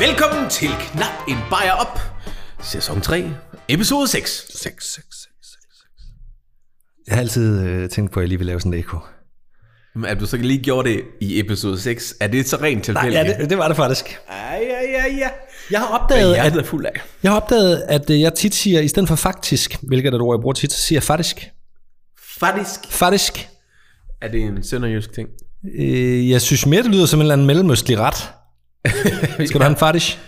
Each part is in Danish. Velkommen til Knap en Bajer Op, sæson 3, episode 6. 6, 6, 6, 6, 6. Jeg har altid øh, tænkt på, at jeg lige vil lave sådan et ekko. At du så lige gjorde det i episode 6, er det så rent tilfældigt? Ja, det, det var det faktisk. Ej, ja, ja, ja. Jeg har opdaget, at, Hjertet er fuld af. jeg, har opdaget, at øh, jeg tit siger, i stedet for faktisk, hvilket er et ord, jeg bruger tit, så siger jeg faktisk. Faktisk. Faktisk. Er det en sønderjysk ting? Øh, jeg synes mere, det lyder som en eller anden mellemøstlig ret. Skal du have en faktisk?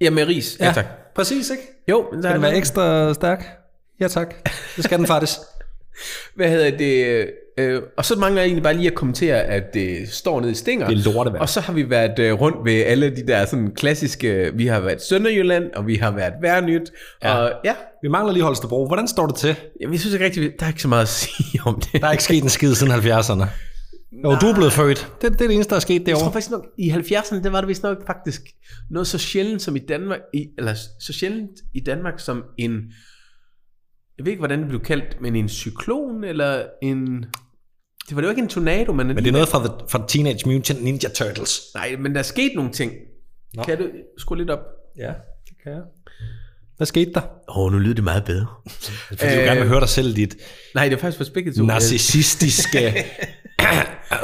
Ja, med ris. Ja, tak. Præcis, ikke? Jo, men der Skal er den være ekstra stærk? Ja, tak. Det skal den faktisk. Hvad hedder det? Øh, og så mangler jeg egentlig bare lige at kommentere, at det står nede i Stinger. Det er lortevejr. Og så har vi været øh, rundt ved alle de der sådan klassiske... Vi har været Sønderjylland, og vi har været Værnyt. Ja. Og ja, Vi mangler lige Holstebro. Hvordan står det til? jamen, jeg synes ikke rigtigt, der er ikke så meget at sige om det. Der er ikke sket en skid siden 70'erne. Jo, du er blevet født. Det, det er det eneste, der er sket Jeg tror derovre. faktisk nok, i 70'erne, der var det vist nok faktisk noget så sjældent som i Danmark, i, eller så sjældent i Danmark som en, jeg ved ikke, hvordan det blev kaldt, men en cyklon, eller en, det var det jo ikke en tornado, men, Men det er noget fra, the, fra Teenage Mutant Ninja Turtles. nej, men der skete nogle ting. Nå. Nå. Kan du skrue lidt op? Ja, det kan jeg. Hvad skete der? Åh, oh, nu lyder det meget bedre. Fordi øh, du gerne vil høre dig selv i dit Nej, det er faktisk for spækket to. narcissistiske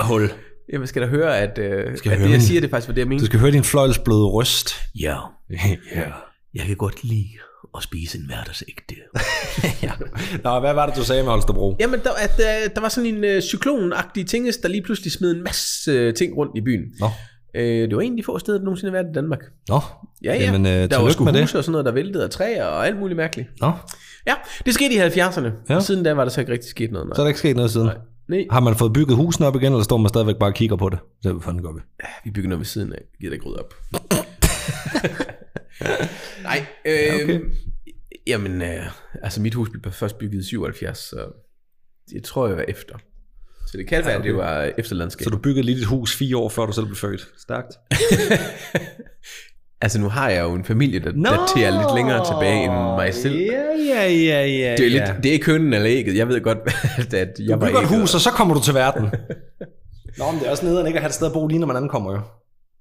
hul. Jamen, skal der høre, at, øh, Skal skal jeg at høre det, jeg min- siger, det er faktisk var det, jeg Du mener. skal høre din fløjlsbløde røst. Ja, ja. jeg kan godt lide at spise en hverdagsægte. ja. Nå, hvad var det, du sagde med Holstebro? Jamen, der, at, øh, der var sådan en øh, cyklonagtig tinges, der lige pludselig smed en masse øh, ting rundt i byen. Nå. Øh, det var en af de få steder, der nogensinde har været i Danmark. Nå. Ja, ja. Jamen, øh, der var tillykke sgu med det. huse og sådan noget, der væltede, og træer og alt muligt mærkeligt. Nå, Ja, det skete i 70'erne. Ja. Ja. Og siden da var der så ikke rigtig sket noget. så er Nej. der ikke sket noget siden. Nej. Nej, Har man fået bygget husene op igen, eller står man stadigvæk bare og kigger på det? Så hvad fanden gør vi? vi bygger noget ved siden af. Vi gider ikke rydde op. Nej, øh, ja, okay. okay. jamen, øh, altså mit hus blev først bygget i 77, så det tror jeg var efter. Så det kan være, ja, okay. at det var efterlandskab. Så du byggede lige dit hus fire år, før du selv blev født. Stærkt. Altså nu har jeg jo en familie, der no! daterer lidt længere tilbage end mig selv. Yeah. Ja, ja, ja, ja. Det er, lidt, det er ikke hønnen eller ægget. Jeg ved godt, at at jeg Du var bygger et ægget. hus, og så kommer du til verden. Nå, men det er også nederen ikke at have et sted at bo, lige når man ankommer jo.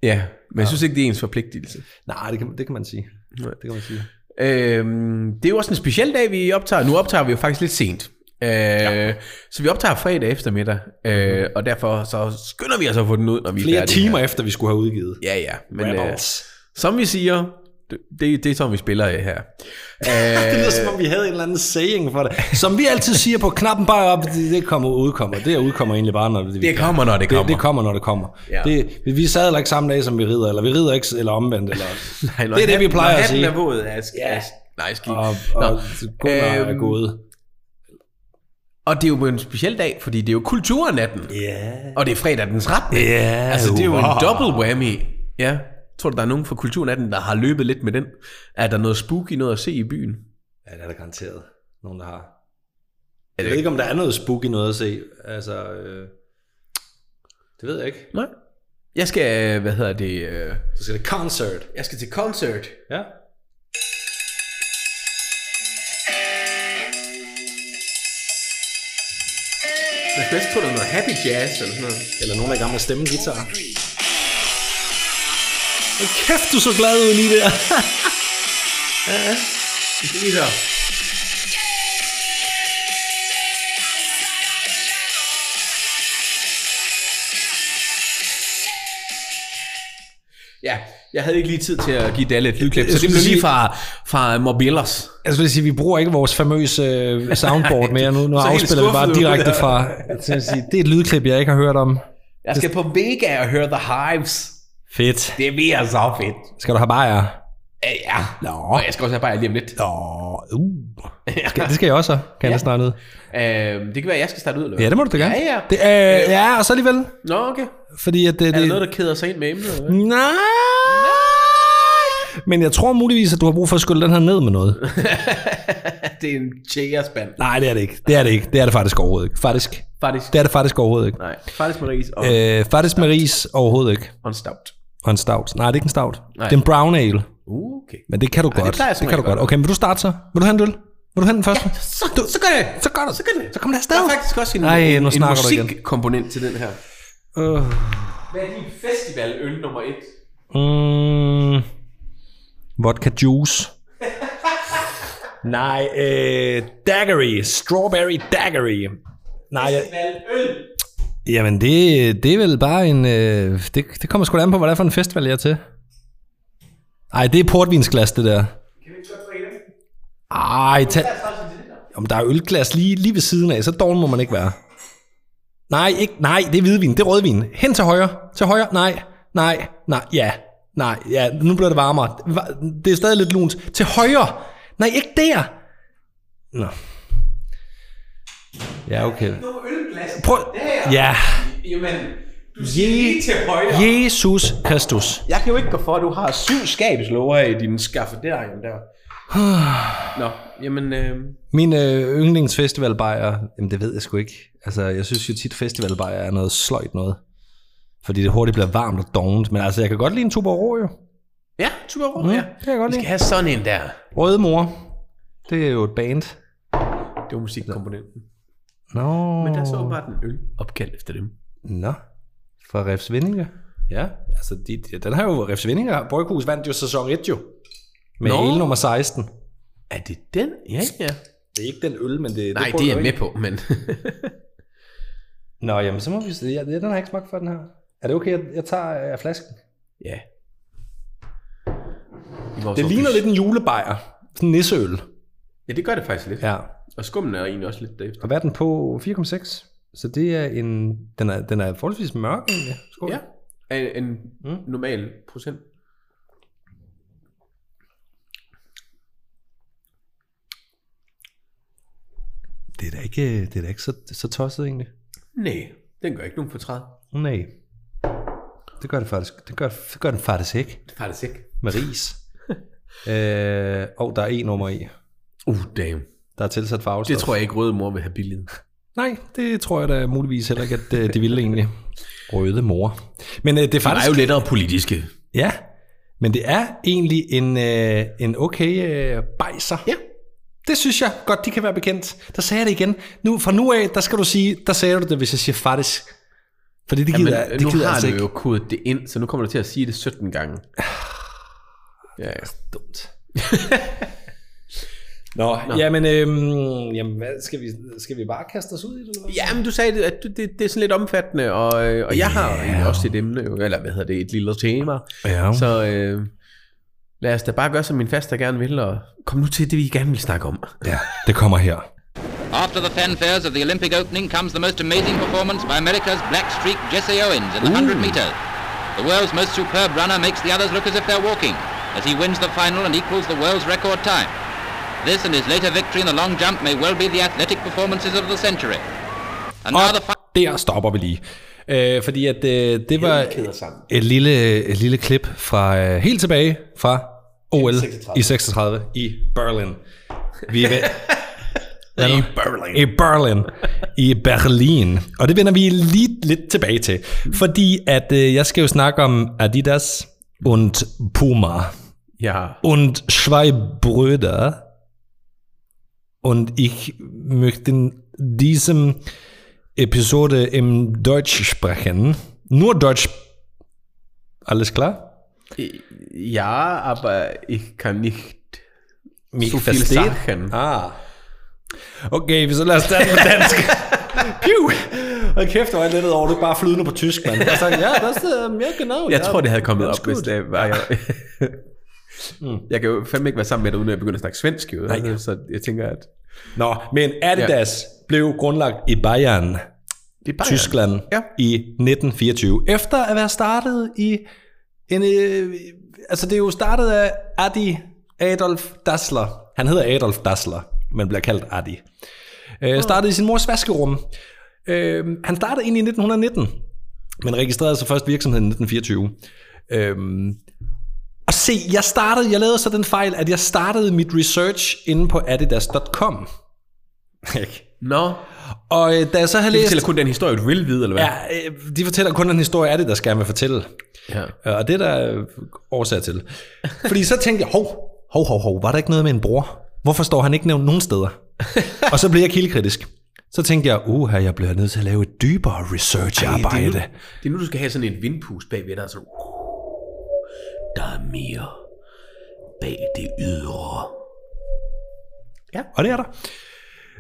Ja, men jeg synes ikke, det er ens forpligtelse. Nej, det kan, det kan man sige. Nej. Det kan man sige. Øhm, det er jo også en speciel dag, vi optager. Nu optager vi jo faktisk lidt sent. Øh, ja. Så vi optager fredag eftermiddag, øh, og derfor så skynder vi os at få den ud, når vi er Mhm. Flere færdige timer Her. efter, vi skulle have udgivet. Ja, ja. Men øh, Rebels. som vi siger, det, det, det er sådan, vi spiller af her. Det Øh, lyder som om, vi havde en eller anden saying for det. Som vi altid siger på knappen bare op, det, det kommer og udkommer. Det her udkommer egentlig bare, når det, det kommer, når det Det, kommer. det kommer, når det kommer. Ja. Ja. Det, vi- vi sad heller ikke samme dag, som vi rider, eller vi rider ikke, eller omvendt. Eller, Nej, når Det er det, vi hatten- plejer når at sige. hatten er våd, er sk- Ja. er sk- Nej, skidt. og, Nå. og Gunnar er Øhm, gået. og det er jo en speciel dag, fordi det er jo kulturnatten. Ja. Og det er fredag den 13. Ja, Altså, det er jo en hurra. double whammy. Ja. Tror du, der er nogen fra kulturnatten, der har løbet lidt med den? Er der noget spooky noget at se i byen? Ja, det er der garanteret nogen, der har. Er Jeg det ved ikke, om der er noget spooky noget at se. Altså, øh, det ved jeg ikke. Nej. Jeg skal, øh, hvad hedder det? øh, Så skal det concert. Jeg skal til concert. Ja. Jeg skal næsten tro, der er noget happy jazz eller sådan noget. Eller nogen, der er i gang med at stemme guitar. Hvor kæft, du så glad ud lige der. Vi skal lige høre. Ja, jeg havde ikke lige tid til at give Dalle et lydklip, så Jeg det skulle blev lige sige- fra, fra Morbillos. Jeg skulle lige sige, vi bruger ikke vores famøse øh, soundboard mere nu. Nu Så helt afspiller vi bare skuffet ud direkte der. fra. Så jeg sige, det er et lydklip, jeg ikke har hørt om. Jeg skal på Vega og høre The Hives. Fedt. Det bliver så fedt. Skal du have bajer? Ja, ja. Nå. Og jeg skal også have bare lige om lidt. Nå, uh. Skal, det skal jeg også, kan jeg ja. snart ned. Øhm, det kan være, at jeg skal starte ud, eller hvad? Ja, det må du da gerne. Ja, ja. Det, øh, ja, og så alligevel. Nå, okay. Fordi at det, Er det, der noget, der keder sig ind med emnet? eller hvad? Nej! Men jeg tror muligvis, at du har brug for at skylle den her ned med noget. det er en tjægerspand. Nej, det er det ikke. Det er det ikke. Det er det faktisk overhovedet ikke. Faktisk. Faktisk. Det er det faktisk overhovedet ikke. Nej, faktisk Maries og Øh, faktisk med ris overhovedet ikke. øh. Unstopped. Og en stout. Nej, det er ikke en stout. Nej. Nej. Det er en brown ale. Uh, okay. Men det kan du Ej, godt. plejer jeg som det kan du regel godt. godt. Okay, vil du starte så? Vil du have en øl? Vil du have den første? Ja. Så, du, så gør det. Så gør du. Så, gør det. så kom der afsted. Der er faktisk også en, Ej, nu en, en snakker du igen. musikkomponent til den her. Øh, Hvad er din festivaløl nummer et? Øh, mm, Vodka juice. Nej, øh, daiquiri. Strawberry daiquiri. Nej, jeg, jamen det, det er vel bare en... Øh, det, det kommer sgu da an på, hvad det er for en festival, jeg er til. Ej, det er portvinsglas, det der. Ej, tag... Om der er ølglas lige, lige ved siden af, så doven må man ikke være. Nej, ikke, nej, det er hvidvin, det er rødvin. Hen til højre, til højre, nej, nej, nej, ja, nej, ja, nu bliver det varmere. Va- Det er stadig lidt lunt. Til højre, nej, ikke der. Nå. Ja, okay. Prøv, ja, Jamen, du skal lige til højre. Jesus Kristus. Jeg kan jo ikke gå for, at du har syv skabslåger i din skaffederium der. Nå, jamen, øh, Min øh, yndlingsfestivalbajer, jamen det ved jeg sgu ikke. Altså, jeg synes jo tit, festivalbajer er noget sløjt noget. Fordi det hurtigt bliver varmt og dovent. Men altså, jeg kan godt lide en Tuborg jo. ja, super rum, ja. Mm, det kan jeg godt Vi skal lide. have sådan en der. Røde mor. Det er jo et band. Det var musikkomponenten. Nå. Men der er så åbenbart en øl opkaldt efter dem. Nå. Fra Refs Vindinger. Ja, altså de, de, den har jo Refs Vindinger. Bryghus vandt jo sæson 1 jo. Med Nå. Nå. hele nummer 16. Er det den? Ja, ja. Det er ikke den øl, men det... Nej, prøver det er du jeg ikke. med på, men... Nå, jamen så må vi se. Ja, den har jeg ikke smagt for, den her. Er det okay, jeg, jeg tager øh, flasken? ja. I vores Det ligner opus- lidt en julebajer. Sådan en nisseøl. Ja, det gør det faktisk lidt. Ja. Ja. Og skummen er egentlig også lidt derefter. Og hvad er den på? 4,6. Så det er en... Den er, den er forholdsvis mørk egentlig. Skål. Ja. Er En, en Mm. normal procent. Det er da ikke, det er da ikke så, så tosset egentlig. Mm, Nej, den gør ikke nogen fortræd. Nej. Det gør det faktisk. Det gør, det gør den faktisk ikke. Det er faktisk ikke. Med ris. øh, og der er en nummer i. Uh, damn. Der er tilsat farvestof. Det tror jeg ikke, røde mor vil have billigt. Nej, det tror jeg da muligvis heller ikke, at øh, de ville egentlig. Røde mor. Men øh, det er Der er faktisk... jo lettere politiske. Ja, men det er egentlig en, øh, en okay øh, bajser. Ja. Det synes jeg godt, de kan være bekendt. Der sagde jeg det igen. Nu, fra nu af, der skal du sige, der sagde du det, hvis jeg siger faktisk. Fordi det gider, Jamen, det nu gider har altså du ikke. jo kodet det ind, så nu kommer du til at sige det 17 gange. Ja, ja. Dumt. Nå, Nå. Jamen, øhm, jamen hvad, skal, vi, skal vi bare kaste os ud i det? Eller? hvad? ja men du sagde, det, at du- det, det er sådan lidt omfattende, og, øh, og jeg har Ja. egentlig også et emne, jo, eller hvad hedder det, et lille tema. Ja. Så, Så øh, lad os da bare gøre, som min faster gerne vil, og kom nu til det, vi gerne vil snakke om. ja, det kommer her. After the fanfares of the Olympic opening comes the most amazing performance by America's black streak Jesse Owens in the 100 metres. The world's most superb runner makes the others look as if they're walking as he wins the final and equals the world's record time. This and his later victory in the long jump may well be the athletic performances of the century. And now the Og der stopper vi lige. Øh, fordi at øh, det var keder sammen. et lille, et lille klip fra øh, helt tilbage fra OL 36. i 36 i Berlin. Vi er ved, I Berlin. I Berlin. I Berlin. Og det vender vi lige lidt tilbage til. Fordi at øh, jeg skal jo snakke om Adidas und Puma Ja. und zwei Brüder. Und ich möchte in diesem Episode im Deutsch sprechen. Nur Deutsch. Alles klar? Ja, aber ich kann nicht Mich so viel Sachen. Ah. Okay, vi så lad os starte på dansk. Piu! Og kæft, hvor er jeg lettet over, at du ikke bare er flydende på tysk, mand. Jeg sagde, ja, das, ähm, ja, genau. Jeg ja, tror, det havde kommet that's op, hvis good." det var jeg. Jeg kan jo fandme ikke være sammen med dig, uden at jeg begynder at snakke svensk. Jo. Altså, Nej. Så jeg tænker, at Nå, men Adidas ja. blev grundlagt i Bayern. det er bare... Tyskland Ja. ja. i 1924. Efter at være startet i en... Øh, altså, det er jo startet af Adi Adolf Dassler. Han hedder Adolf Dassler, men bliver kaldt Adi. Øh, startede i sin mors vaskerum. Øh, han startede egentlig i 1919, men registrerede sig først virksomheden i 1924. Øh, og se, jeg startede, jeg lavede så den fejl, at jeg startede mit research inde på adidas.com. Nå, Og øh, da jeg så havde det læst... fortæller kun den historie, du vil vide, eller hvad? Ja, øh, de fortæller kun den historie, er det, der skal man fortælle. ja. Og det er der øh, årsager til. Fordi så tænkte jeg, hov, hov, hov, hov, var der ikke noget med en bror? Hvorfor står han ikke nævnt nogen steder? og så blev jeg kildekritisk. Så tænkte jeg, uha, jeg bliver nødt til at lave et dybere Det, er nu, research-arbejde. det er nu, du skal have sådan et vindpus bagved dig, så... Der er mere. bag det ydre. Og det er der.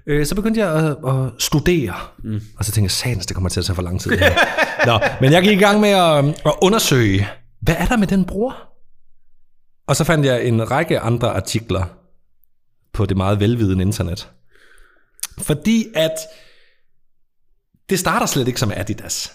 Øh, så begyndte jeg at, at studere, mm. og så tænkte jeg, satans, det kommer til at tage for lang tid. det her." Nå, men jeg gik i gang med at, at undersøge, hvad er der med den bror? Og så fandt jeg en række andre artikler på det meget velvidende internet. Fordi at det starter slet ikke som Adidas.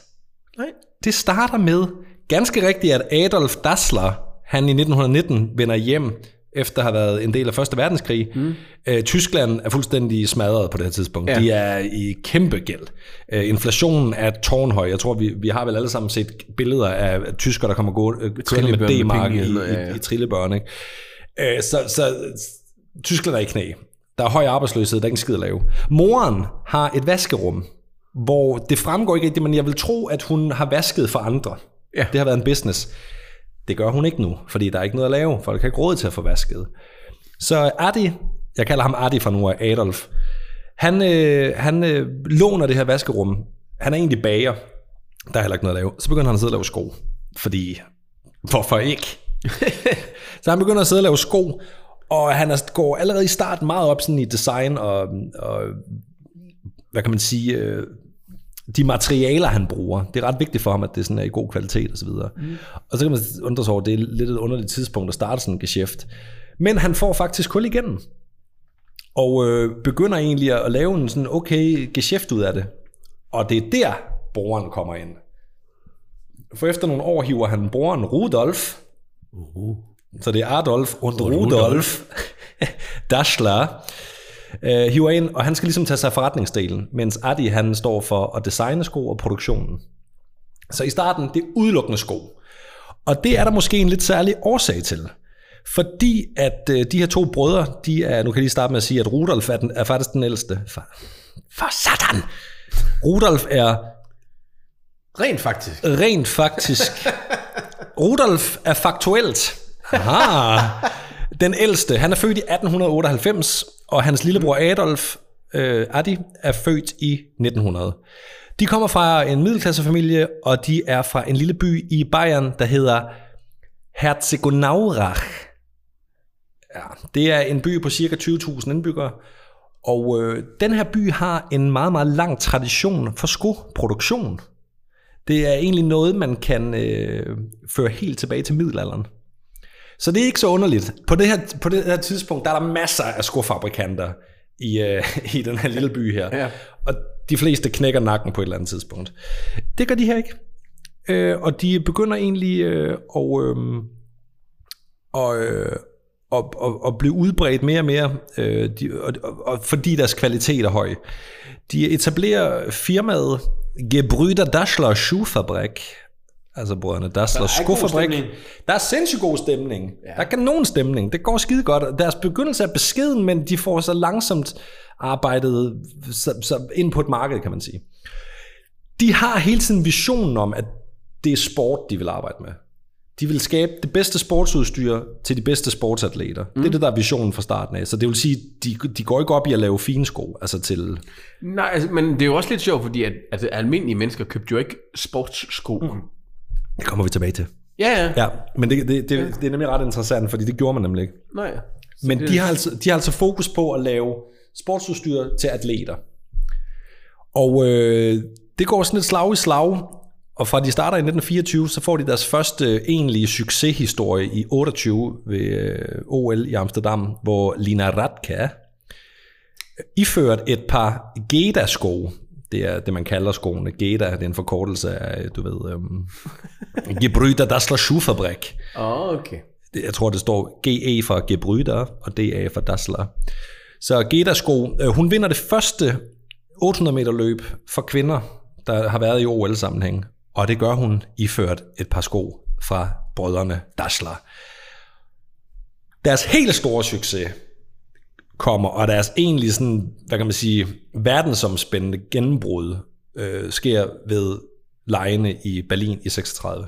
Nej. Det starter med ganske rigtigt, at Adolf Dassler, han i 1919 vender hjem efter at have været en del af Første Verdenskrig. Mm. Øh, Tyskland er fuldstændig smadret på det her tidspunkt. Ja. Ja. De er i kæmpe gæld. Øh, inflationen er tårnhøj. Jeg tror, vi, vi har vel alle sammen set billeder af tysker, der kommer gå, øh, kørende med trillebørn med D-mark i, penge i i, hænderne, ja, ja. i trillebørn. Ikke? Øh, så, så Tyskland er i knæ. Der er høj arbejdsløshed, der er ikke en skid at lave. Moren har et vaskerum, hvor det fremgår ikke rigtigt, men jeg vil tro, at hun har vasket for andre. Ja. Det har været en business. Det gør hun ikke nu, fordi der er ikke noget at lave. Folk har ikke råd til at få vasket. Så Adi, jeg kalder ham Adi fra nu af, Adolf, han, øh, han øh, låner det her vaskerum. Han er egentlig bager. Der er heller ikke noget at lave. Så begynder han at sidde og lave sko. Fordi, hvorfor ikke? så han begynder at sidde og lave sko, og han er, går allerede i starten meget op sådan i design og, og hvad kan man sige, øh, de materialer, han bruger. Det er ret vigtigt for ham, at det sådan er i god kvalitet osv. Og, mm. og så kan man undre sig over, at det er lidt et underligt tidspunkt at starte sådan en geschæft. Men han får faktisk kul igennem, og øh, begynder egentlig at lave en sådan okay geschæft ud af det. Og det er der, broren kommer ind. For efter nogle år hiver han broren Rudolf, Uh. så det er Adolf und Rudolf Daschler, øh, hiver ind, og han skal ligesom tage sig af forretningsdelen, mens Adi han står for at designe sko og produktionen. Så i starten, det er udelukkende sko. Og det er der måske en lidt særlig årsag til. Fordi at øh, de her to brødre, de er, nu kan jeg lige starte med at sige, at Rudolf er, den, er faktisk den ældste. For, for satan! Rudolf er Rent faktisk. rent faktisk. Rudolf er faktuelt. Aha. Den ældste, han er født i 1898, og hans lillebror Adolf øh, Adi er født i 1900. De kommer fra en middelklassefamilie, og de er fra en lille by i Bayern, der hedder Herzegonaurach. Ja, det er en by på cirka 20.000 indbyggere, og øh, den her by har en meget, meget lang tradition for skoproduktion. Det er egentlig noget, man kan øh, føre helt tilbage til middelalderen. Så det er ikke så underligt. På det her, på det her tidspunkt, der er der masser af skofabrikanter i, øh, i den her lille by her. Ja. Og de fleste knækker nakken på et eller andet tidspunkt. Det gør de her ikke. Øh, og de begynder egentlig øh, og, øh, og, øh, og, og, og blive udbredt mere og mere, øh, de, og, og, og, fordi deres kvalitet er høj. De etablerer firmaet Gebrüder Dassler Schuhfabrik, altså brødrene Dassler er god Skofabrik. stemning. Der er sindssygt god stemning. Ja. Der kan nogen stemning. Det går skide godt. Deres begyndelse er beskeden, men de får så langsomt arbejdet så, så ind på et marked, kan man sige. De har hele tiden visionen om, at det er sport, de vil arbejde med. De vil skabe det bedste sportsudstyr til de bedste sportsatleter. Mm. Det er det, der er visionen fra starten af. Så det vil sige, de, de går ikke op i at lave fine sko, altså til Nej, altså, men det er jo også lidt sjovt, fordi at, at almindelige mennesker købte jo ikke sportssko. Mm. Det kommer vi tilbage til. Ja, ja. Ja, men det, det, det, det er nemlig ret interessant, fordi det gjorde man nemlig ikke. Nej. Men det- de har, altså, de har altså fokus på at lave sportsudstyr til atleter. Og øh, det går sådan et slag i slag, og fra de starter i 1924, så får de deres første øh, egentlige succeshistorie i 28 ved øh, OL i Amsterdam, hvor Lina Ratka iført et par Geda-sko. Det er det, man kalder skoene. Geda, det er en forkortelse af, du ved, øhm, Gebrüder Dassler Schuhfabrik. Åh, oh, okay. Det- jeg tror, det står GE for Gebrüder og DA for Dassler. Så Geda-sko, øh, hun vinder det første 800 meter løb for kvinder, der har været i OL-sammenhæng. Og det gør hun iført et par sko fra brødrene Dassler. Deres helt store succes kommer, og deres egentlig sådan, hvad kan man sige, verdensomspændende gennembrud øh, sker ved lejene i Berlin i 36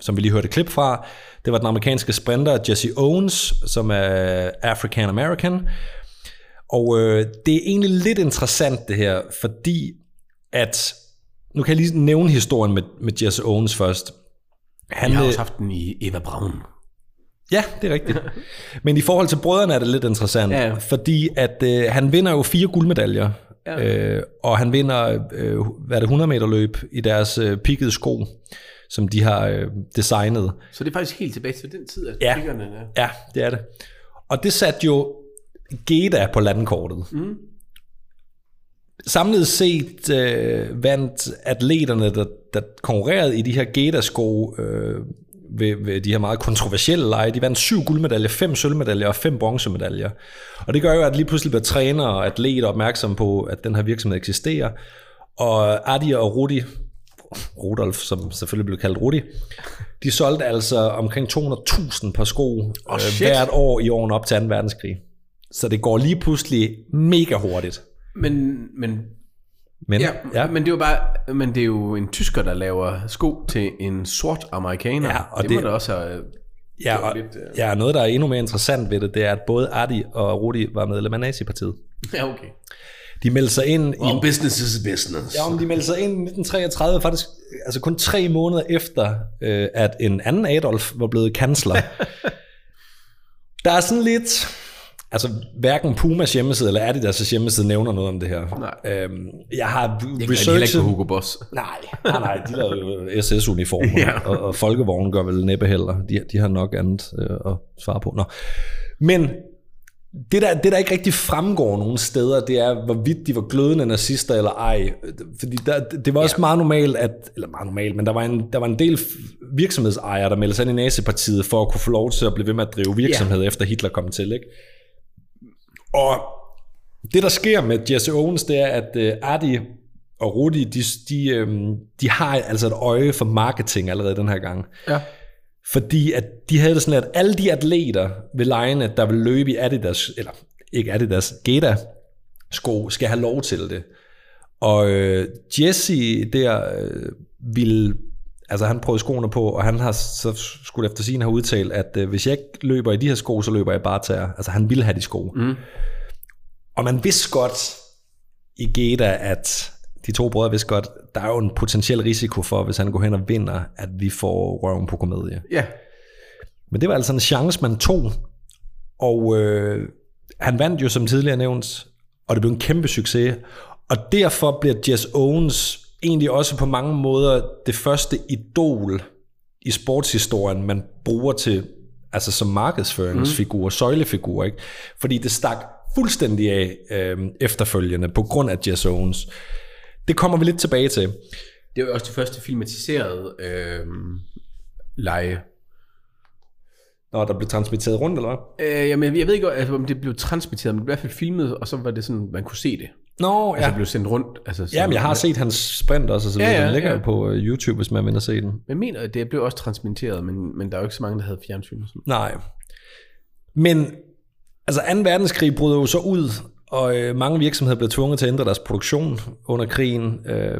som vi lige hørte et klip fra. Det var den amerikanske sprinter Jesse Owens, som er African American. Og øh, det er egentlig lidt interessant det her, fordi at, nu kan jeg lige nævne historien med, med Jesse Owens først. Han, Jeg har øh, også haft den i Eva Braun. Ja, det er rigtigt. Men i forhold til brødrene er det lidt interessant, Ja, ja. ja. fordi at øh, han vinder jo fire guldmedaljer, Ja. ja. øh, og han vinder øh, hvad er det 100 meter løb i deres øh, pikkede sko, som de har øh, designet. Så det er faktisk helt tilbage til den tid, at Ja. byggerne er. Ja, det er det. Og det satte jo Geda på landkortet. Mm. Samlet set øh, vandt atleterne, der, der konkurrerede i de her Geda-sko øh, ved, ved de her meget kontroversielle lege, de vandt syv guldmedaljer, fem sølvmedaljer og fem bronzemedaljer. Og det gør jo, at lige pludselig bliver trænere og atleter opmærksom på, at den her virksomhed eksisterer. Og Adi og Rudi, Rudolf, som selvfølgelig blev kaldt Rudi, de solgte altså omkring 200.000 par sko oh, shit. hvert år i årene op til 2. verdenskrig. Så det går lige pludselig mega hurtigt. Men, men Men, Ja, ja. Men, det er jo bare, men det er jo en tysker, der laver sko til en sort amerikaner. Ja, og det, det må det- da også have... Ja, var og, lidt, øh, ja, noget, der er endnu mere interessant ved det, det er, at både Ardi og Rudi var medlem af nazipartiet. Ja, okay. De meldte sig ind i... business is business. Ja, om de meldte sig ind i 1933, faktisk altså kun tre måneder efter, øh, at en anden Adolf var blevet kansler. der er sådan lidt... Altså, hverken Pumas hjemmeside eller Adidas' hjemmeside nævner noget om det her. Nej. Øhm, jeg har Jeg kan heller ikke researchet... på Hugo Boss. Nej, nej, nej, de laver jo SS-uniformer, Ja. ja. og, og folkevognen gør vel næppe heller. De, de har nok andet øh, at svare på. Nå. Men det der, det, der ikke rigtig fremgår nogen steder, det er, hvorvidt de var glødende nazister eller ej. Fordi der, det var også ja. meget normalt, at, eller meget normalt, men der var en, der var en del virksomhedsejere, der meldte sig ind i nazipartiet for at kunne få lov til at blive ved med at drive virksomhed, ja. efter Hitler kom til. Ikke? Og det, der sker med Jesse Owens, det er, at øh, Artie og Rudi, de, de, øhm, de har altså et øje for marketing allerede den her gang. Ja. Fordi at de havde det sådan, at alle de atleter ved lejene, der vil løbe i Adidas, eller ikke Adidas, Geta sko, skal have lov til det. Og øh, Jesse der øh, vil altså han prøvede skoene på, og han har så skulle efter sin have udtalt, at øh, hvis jeg ikke løber i de her sko, så løber jeg bare tæer. Altså han ville have de sko. Mm. Og man vidste godt i Geta, at de to brødre vidste godt, der er jo en potentiel risiko for, hvis han går hen og vinder, at vi får røven på komedie. Ja. Men det var altså en chance, man tog. Og øh, han vandt jo, som tidligere nævnt, og det blev en kæmpe succes. Og derfor bliver Jess Owens egentlig også på mange måder det første idol i sportshistorien, man bruger til, altså som markedsføringsfigur, mm. søjlefigur, ikke? Fordi det stak fuldstændig af øh, efterfølgende på grund af Jess Owens. Det kommer vi lidt tilbage til. Det var jo også det første filmatiserede øhm, lege. Når der blev transmitteret rundt, eller hvad? Øh, jamen, jeg ved ikke, altså, om det blev transmitteret, men det blev i hvert fald filmet, og så var det sådan, man kunne se det. Nå, Altså, ja. blev sendt rundt. Altså, sådan- Jamen, jeg har set hans sprint også, og så videre. Ja, Ja, ja, ja, den ligger ja. jo på øh, YouTube, hvis man vil ind og se den. Men jeg mener, at det blev også transmitteret, men, men der er jo ikke så mange, der havde fjernsyn. Og sådan. Nej. Men altså 2. verdenskrig bryder jo så ud, og øh, mange virksomheder bliver tvunget til at ændre deres produktion under krigen. Øh,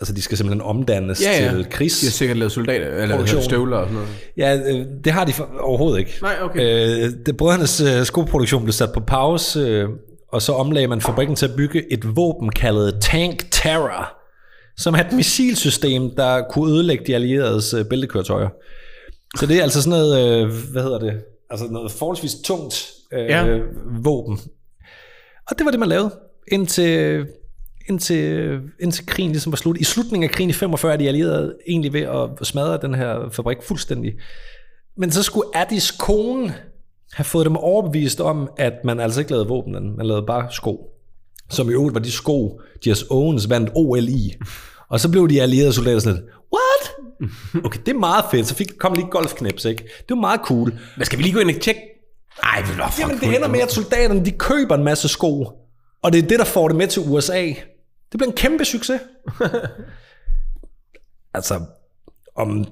altså, de skal simpelthen omdannes Ja, ja. til krigs... De har sikkert lavet soldater, eller Produktion. støvler og sådan noget. Ja, øh, det har de for, overhovedet ikke. Nej, okay. Øh, det, brødrenes øh, skoproduktion blev sat på pause, øh, og så omlagde man fabrikken til at bygge et våben kaldet Tank Terror, som er et missilsystem, der kunne ødelægge de allieredes øh, bæltekøretøjer. Så det er altså sådan noget, øh, hvad hedder det, altså noget forholdsvis tungt øh, Ja. ja. våben. Og det var det, man lavede, indtil, indtil, indtil krigen ligesom var slut. I slutningen af krigen i 45 er de allierede egentlig ved at smadre den her fabrik fuldstændig. Men så skulle Addis kone have fået dem overbevist om, at man altså ikke lavede våben, den. man lavede bare sko. Som i øvrigt var de sko, Jess Owens vandt OL i. Og så blev de allierede soldater sådan lidt, what? Okay, det er meget fedt. Så fik, kom lige et golfknips, ikke? Det var meget cool. Men skal vi lige gå ind og tjekke? Ej, det var Jamen, det ender med, at soldaterne de køber en masse sko, og det er det, der får det med til USA. Det bliver en kæmpe succes. altså, om,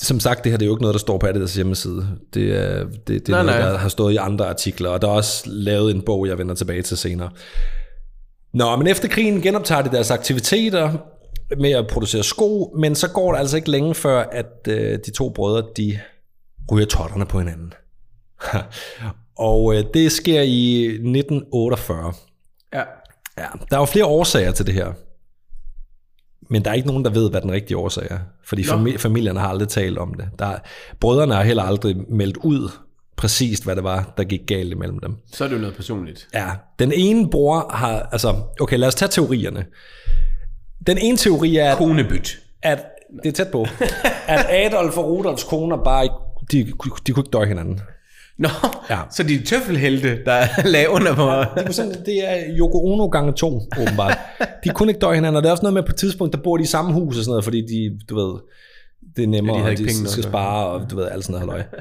som sagt, det her det er jo ikke noget, der står på Adidas hjemmeside. Det er, det, det er Nej, nej, noget, nej. der har stået i andre artikler, og der er også lavet en bog, jeg vender tilbage til senere. Nå, men efter krigen genoptager de deres aktiviteter med at producere sko, men så går det altså ikke længe før, at øh, de to brødre, de ryger totterne på hinanden. og øh, det sker i 1948. Ja. Ja, der er jo flere årsager til det her. Men der er ikke nogen, der ved, hvad den rigtige årsag er. Fordi fami- familierne har aldrig talt om det. Der, brødrene har heller aldrig meldt ud præcist, hvad det var, der gik galt imellem dem. Så er det jo noget personligt. Ja, den ene bror har, altså, okay, lad os tage teorierne. Den ene teori er, at, Konebyt. at det er tæt på, at Adolf og Rudolfs koner bare ikke, de, kunne- de kunne ikke døje hinanden. Nå, Ja. ja. så de er tøffelhelte, der lagde under på... Det er, sådan, det er Yoko Ono gange to, åbenbart. De kunne ikke døje hinanden, og der er også noget med, at på et tidspunkt, der bor de i samme hus og sådan noget, fordi de, du ved, det er nemmere, Ja, de havde ja, de, ikke og penge de nok, skal ja. spare, og du ved, alt sådan noget halløj.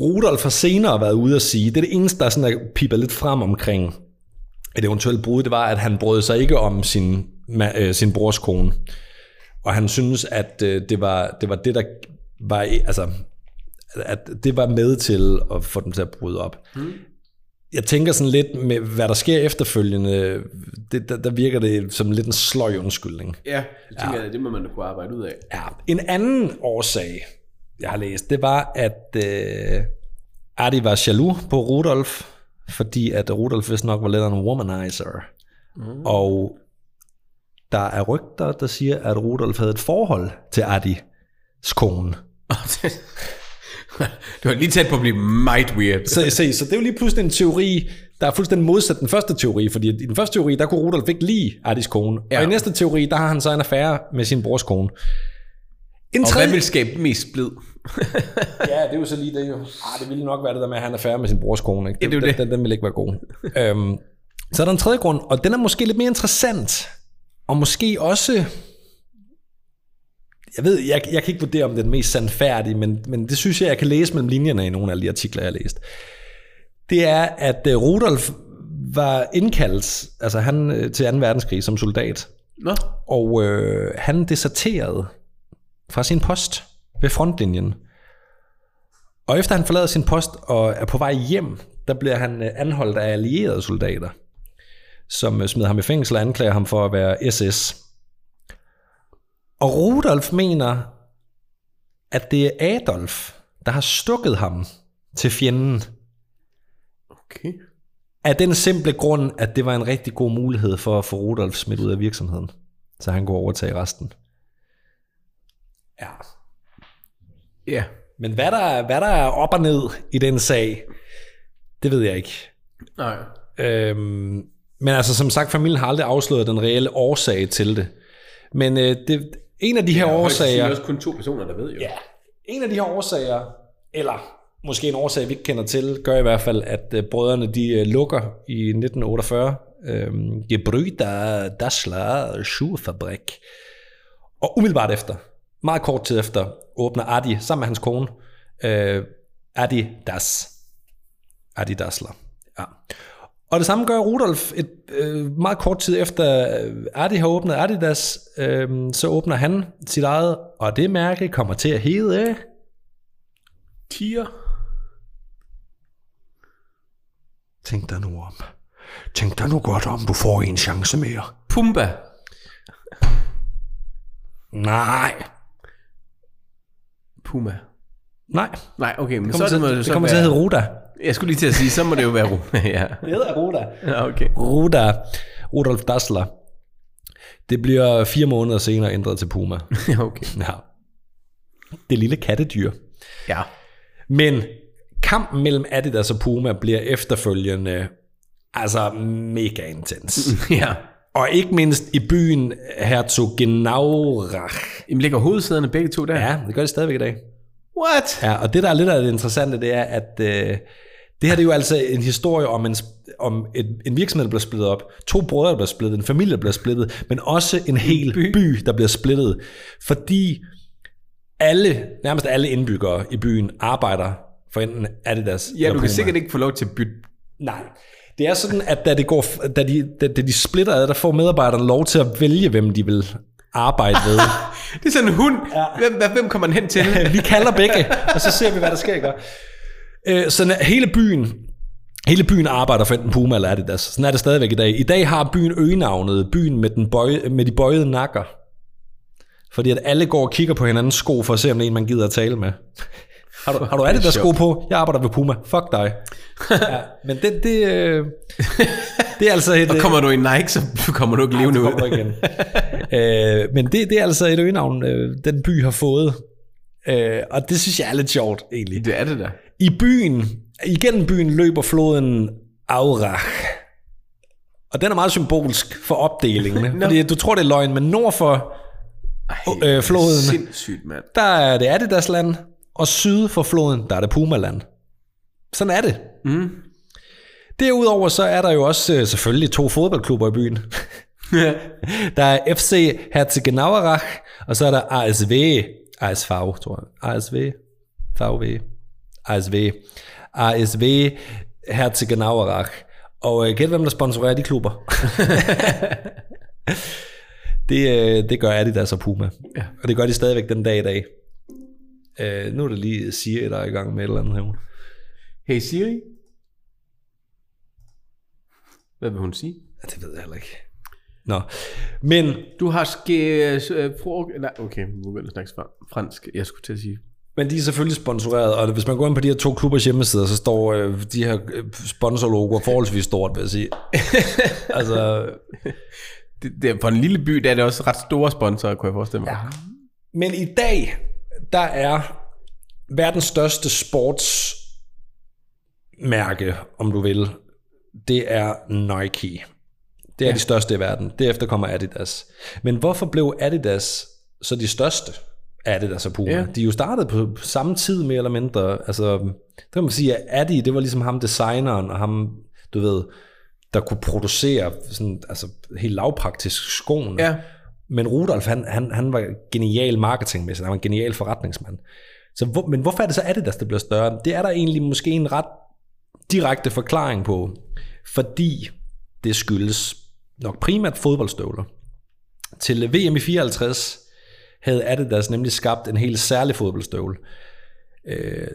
Rudolf har senere været ude at sige, det er det eneste, der sådan er pipper lidt frem omkring et eventuelt brud, det var, at han brød sig ikke om sin, ma- øh, sin brors kone. Og han synes, at øh, det, var, det var det, der var, i- altså, at det var med til at få dem til at bryde op. Mm. Jeg tænker sådan lidt med, hvad der sker efterfølgende, det, der, der virker det som lidt en sløj undskyldning. Ja, det tænker ja. jeg, det må man da kunne arbejde ud af. Ja. En anden årsag, jeg har læst, det var, at øh, Adi var jaloux på Rudolf, fordi at Rudolf vist nok var lidt af en womanizer. Mm. Og der er rygter, der siger, at Rudolf havde et forhold til Adis kone. du var lige tæt på at blive meget weird. Så, se, så det er jo lige pludselig en teori, der er fuldstændig modsat den første teori, fordi i den første teori, der kunne Rudolf ikke lide Adis kone, ja. Ja. og i næste teori, der har han så en affære med sin brors kone. En Og tredje- hvad vil skabe mest splid? Ja, det er jo så lige det jo. Ah, det ville nok være det der med, at han er færdig med sin brors kone. Ikke? Ja, det er jo det. Den, den, den ville ikke være god. øhm, så er der en tredje grund, og den er måske lidt mere interessant. Og måske også... Jeg ved, jeg, jeg kan ikke vurdere, om det er den mest sandfærdige, men, men det synes jeg, jeg kan læse mellem linjerne i nogle af de artikler, jeg har læst. Det er, at øh, Rudolf var indkaldt, altså han øh, til 2. verdenskrig som soldat, Nå, og øh, han deserterede fra sin post ved frontlinjen. Og efter han forlader sin post og er på vej hjem, der bliver han øh, anholdt af allierede soldater, som øh, smider ham i fængsel og anklager ham for at være SS. Og Rudolf mener, at det er Adolf, der har stukket ham til fjenden, okay. af den simple grund, at det var en rigtig god mulighed for at få Rudolf smidt ud af virksomheden, så han kunne overtage resten. Ja. Ja. Men hvad der, hvad der er op og ned i den sag, det ved jeg ikke. Nej. Øhm, men altså, som sagt, familien har aldrig afsløret den reelle årsag til det. Men øh, det, en af de her Det er årsager... også kun to personer, der ved jo. Ja, en af de her årsager, eller måske en årsag, vi ikke kender til, gør i hvert fald, at øh, brødrene de øh, lukker i 1948 øh, Gebrüder Dassler Schuhfabrik. Og umiddelbart efter, meget kort tid efter, åbner Adi sammen med hans kone, øh, Adi Das. Adi Dassler. Ja. Og det samme gør Rudolf et, øh, meget kort tid efter øh, Adi har åbnet Adidas, øh, så åbner han sit eget, og det mærke kommer til at hedde Tier. Tænk dig nu om. Tænk dig nu godt om, du får en chance mere. Pumba. Nej. Puma. Nej. Nej, okay, men Det så kommer, til, må det, det så kommer til være, at hedde Ruda. Jeg skulle lige til at sige, så må det jo være Rune. ja. Det hedder Ruda. ja, okay. Ruda. Rudolf Dassler. Det bliver fire måneder senere ændret til Puma. Ja, okay. Ja. Det lille kattedyr. Ja. Men kampen mellem Adidas og Puma bliver efterfølgende altså mega intens. ja. og ikke mindst i byen Herzogenaurach. Jamen ligger hovedsæderne begge to der? Ja, det gør det stadigvæk i dag. What? Ja, og det, der er lidt af det interessante, det er, at øh, det her det er jo altså en historie om, en, sp- om et, en virksomhed, der bliver splittet op, to brødre, der bliver splittet, en familie, der bliver splittet, men også en hel by. by, der bliver splittet, fordi alle, nærmest alle indbyggere i byen arbejder for enten Adidas Ja, du eller kan Puma. sikkert ikke få lov til at bytte. Nej. Det er sådan, at da, det går, da, de, da, da de splitter ad, der får medarbejderne lov til at vælge, hvem de vil arbejde ved. Det er sådan en hund. Ja. Hvem, hvad- hvem kommer den hen til? vi kalder begge, og så ser vi, hvad der sker. Ikke? Øh, Så na- hele byen, hele byen arbejder for enten Puma eller Adidas. Sådan er det stadigvæk i dag. I dag har byen øgenavnet, byen med, den bøje, med de bøjede nakker. Fordi at alle går og kigger på hinandens sko, for at se, om det er en, man gider at tale med. Har du, har du Adidas sko på? Jeg arbejder ved Puma. Fuck dig. Ja, men det, det, øh, Det er altså et... Og kommer du i Nike, så kommer du ikke levende øh, ud. kommer igen. øh, men det, det er altså et øgenavn, øh, den by har fået. Øh, og det synes jeg er lidt sjovt, egentlig. Det er det der. I byen, igennem byen løber floden Aurach. Og den er meget symbolsk for opdelingen. Nå. fordi du tror, det er løgn, men nord for øh, floden, Sindssygt, mand. der er det Adidas land, og syd for floden, der er det Pumaland. Sådan er det. Mm. Derudover så er der jo også øh, selvfølgelig to fodboldklubber i byen. der er FC Herzegenaurach, og så er der ASV, ASV, tror jeg. ASV, VV, ASV, ASV Herzegenaurach. Og øh, gæt hvem, der sponsorerer de klubber. det, øh, det gør Adidas og Puma. Ja. Og det gør de stadigvæk den dag i dag. Øh, nu er det lige Siri, der er i gang med et eller andet her. Hey Siri. Hvad vil hun sige? Ja, det ved jeg heller ikke. Nå, men Du har ske... Øh, pro... Nej, okay, nu begynder jeg at snakke fra- fransk. Jeg skulle til at sige... Men de er selvfølgelig sponsoreret, og hvis man går ind på de her to klubbers hjemmesider, så står øh, de her øh, sponsorlogoer forholdsvis stort, vil jeg sige. altså, Det, det, er- for en lille by, der er det også ret store sponsorer, kunne jeg forestille mig. Ja. men i dag, der er verdens største sportsmærke, om du vil, det er Nike. Det er ja. de største i verden. Derefter kommer Adidas. Men hvorfor blev Adidas så de største? Adidas og Puma. Ja. Ja. De er jo startet på på samme tid, mere eller mindre. Altså, der kan man sige, at Adi, det var ligesom ham designeren, og ham, du ved, der kunne producere sådan, altså, helt lavpraktisk skoene. Ja. Men Rudolf, han, han, han var genial marketingmæssigt, han var en genial forretningsmand. Så hvor, men hvorfor er det så Adidas, der bliver større? Det er der egentlig måske en ret direkte forklaring på, fordi det skyldes nok primært fodboldstøvler. Til VM i 54 havde Adidas nemlig skabt en helt særlig fodboldstøvle. Øh,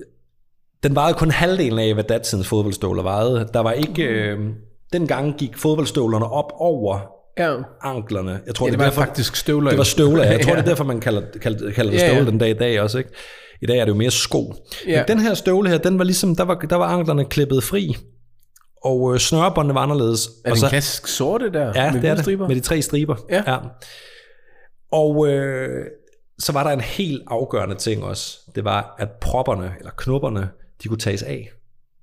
den vejede kun halvdelen af, hvad datidens fodboldstøvler vejede. Der var ikke... Øh, dengang gik fodboldstøvlerne op over ja. anklerne. Jeg tror, Ja, det det, det, var er derfor, faktisk støvler. det var støvler. Jeg tror, Ja. det er derfor, man kalder, kalder, kalder det Ja, ja. støvle den dag i dag også. Ikke? I dag er det jo mere sko. Ja. Men den her støvle her, den var ligesom, der var, der var anklerne klippet fri, og øh, snørebåndene var anderledes. Er og det en klassisk sorte der? Ja, med det er hvide det. striber? Med de tre striber. Ja. Og øh, så var der en helt afgørende ting også. Det var, at propperne, eller knopperne, de kunne tages af.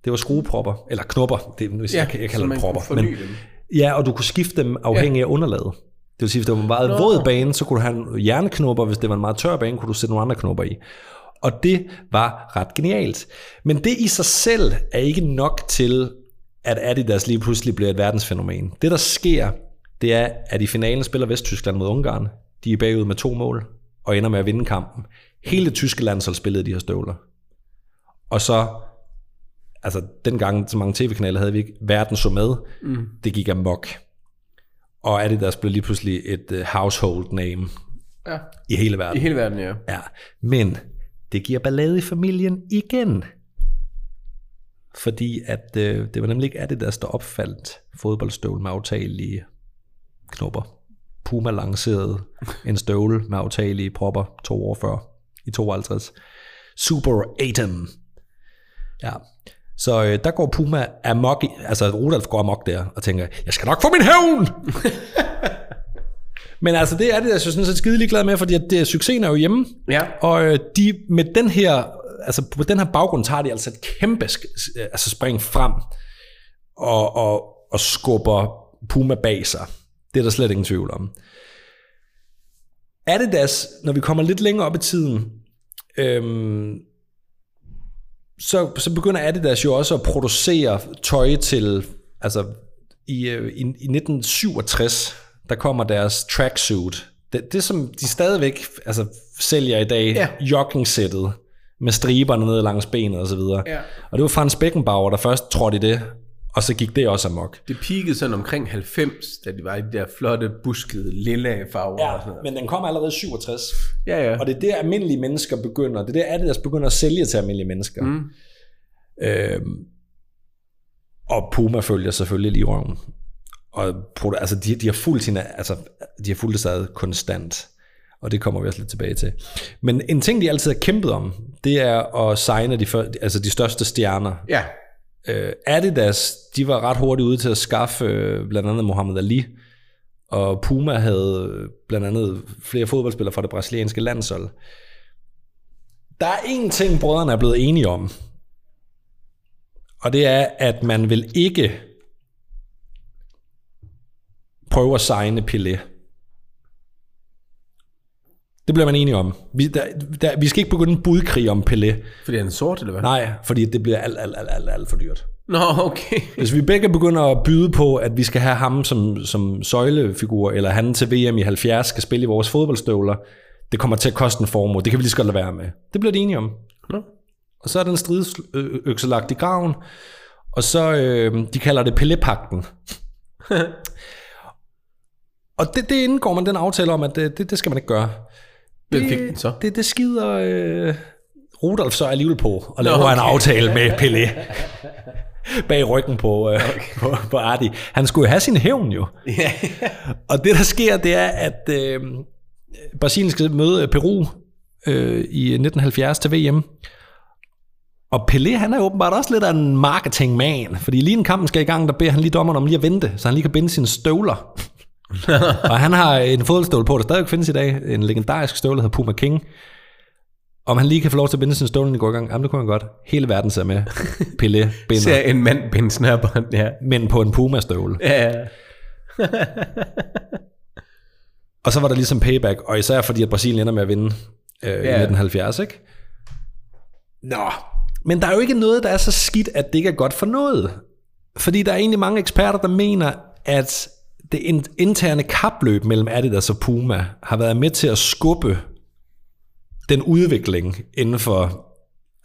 Det var skruepropper, eller knopper. Det, nu, ja, jeg, jeg så kalder man dem propper. kunne forny dem. ja, og du kunne skifte dem afhængig af underlaget. Det vil sige, hvis det var en meget Nå. våd bane, så kunne du have en jernknopper. Hvis det var en meget tør bane, kunne du sætte nogle andre knopper i. Og det var ret genialt. Men det i sig selv er ikke nok til, at Adidas lige pludselig bliver et verdensfænomen. Det, der sker, det er, at i finalen spiller Vesttyskland mod Ungarn. De er bagud med to mål og ender med at vinde kampen. Hele det tyske landshold spillede i de her støvler. Og så, altså dengang så mange tv-kanaler havde vi ikke, verden så med, mm. det gik amok. Og Adidas blev lige pludselig et uh, household name Ja. i hele I verden. hele verden, ja. Ja, men det giver ballade i familien igen. Fordi at øh, det var nemlig ikke Adidas, der opfandt fodboldstøvlen med aftagelige knopper. Puma lancerede en støvle med aftagelige propper to år før, i 52. Super Atom. Ja. Så øh, der går Puma amok, i- altså Rudolf går amok der, og tænker, jeg skal nok få min hævn! Men altså, det er det, jeg synes, sådan set skide glad med, fordi at det, succesen er jo hjemme. Ja. Og øh, de med den her, altså på den her baggrund, tager de altså et kæmpe sk- øh, altså spring frem og, og, og skubber Puma bag sig. Det er der slet ingen tvivl om. Adidas, når vi kommer lidt længere op i tiden, øhm, så, så begynder Adidas jo også at producere tøj til, altså i, øh, i, i 1967, der kommer deres tracksuit. Det, det som de stadigvæk altså, sælger i dag, Ja. jogging-sættet, med striberne ned langs benet og så videre. Ja. Og det var Frans Beckenbauer, der først trådte i det, og så gik det også amok. Det peakede sådan omkring 90, da de var i de der flotte, buskede, lilla farver og sådan noget. men den kom allerede i 67. Ja, ja. Og det er der, almindelige mennesker begynder. Det er der, Adidas begynder at sælge til almindelige mennesker. Mm. Øhm, og Puma følger selvfølgelig lige røven. Og produ- altså, de, de har fulgt hende, altså, de har fulgt sig ad konstant. Og det kommer vi også lidt tilbage til. Men en ting, de altid har kæmpet om, det er at signe de, før, altså de største stjerner Ja, øh, Adidas, de var ret hurtigt ude til at skaffe øh, blandt andet Mohammed Ali, og Puma havde øh, blandt andet flere fodboldspillere fra det brasilianske landshold. Der er én ting, brødrene er blevet enige om, og det er, at man vil ikke prøve at signe Pelé. Det bliver man enige om. Vi, der, der, vi skal ikke begynde en budkrig om Pelé. Fordi han er sort, eller hvad? Nej, fordi det bliver alt, alt, alt, alt, alt for dyrt. Nå, okay. Hvis vi begge begynder at byde på, at vi skal have ham som, som søjlefigur, eller han til VM i 70 skal spille i vores fodboldstøvler, det kommer til at koste en formue. Det kan vi lige så godt lade være med. Det bliver de enige om. Nå. Og så er den stridsøkse lagt i graven, og så, øh, de kalder det Pellepakten. og det, det indgår man den aftale om, at det, det, det skal man ikke gøre. Hvem fik den så? Det, det skider øh, Rudolf så alligevel på, og laver okay. en aftale med Pelé bag ryggen på, øh, okay. på, på Arti. Han skulle jo have sin hævn jo. Ja. Og det, der sker, det er, at øh, Brasilien skal møde Peru øh, i 1970 til VM. Og Pelé, han er åbenbart også lidt af en marketingman, fordi lige en kampen skal i gang, der beder han lige dommeren om lige at vente, så han lige kan binde sine støvler. og han har en fodstål på, der stadig findes i dag, en legendarisk støvle, der hedder Puma King. Om han lige kan få lov til at binde sin støvle, når det går i gang, jamen det kunne han godt. Hele verden ser med. Pelé binder, Ser en mand binde snørbånd, ja. men på en Puma-støvle. Ja, Og så var der ligesom payback, og især fordi, at Brasilien ender med at vinde øh, i 1970, ikke? Nå, men der er jo ikke noget, der er så skidt, at det ikke er godt for noget. Fordi der er egentlig mange eksperter, der mener, at det in- interne kapløb mellem Adidas og Puma har været med til at skubbe den udvikling inden for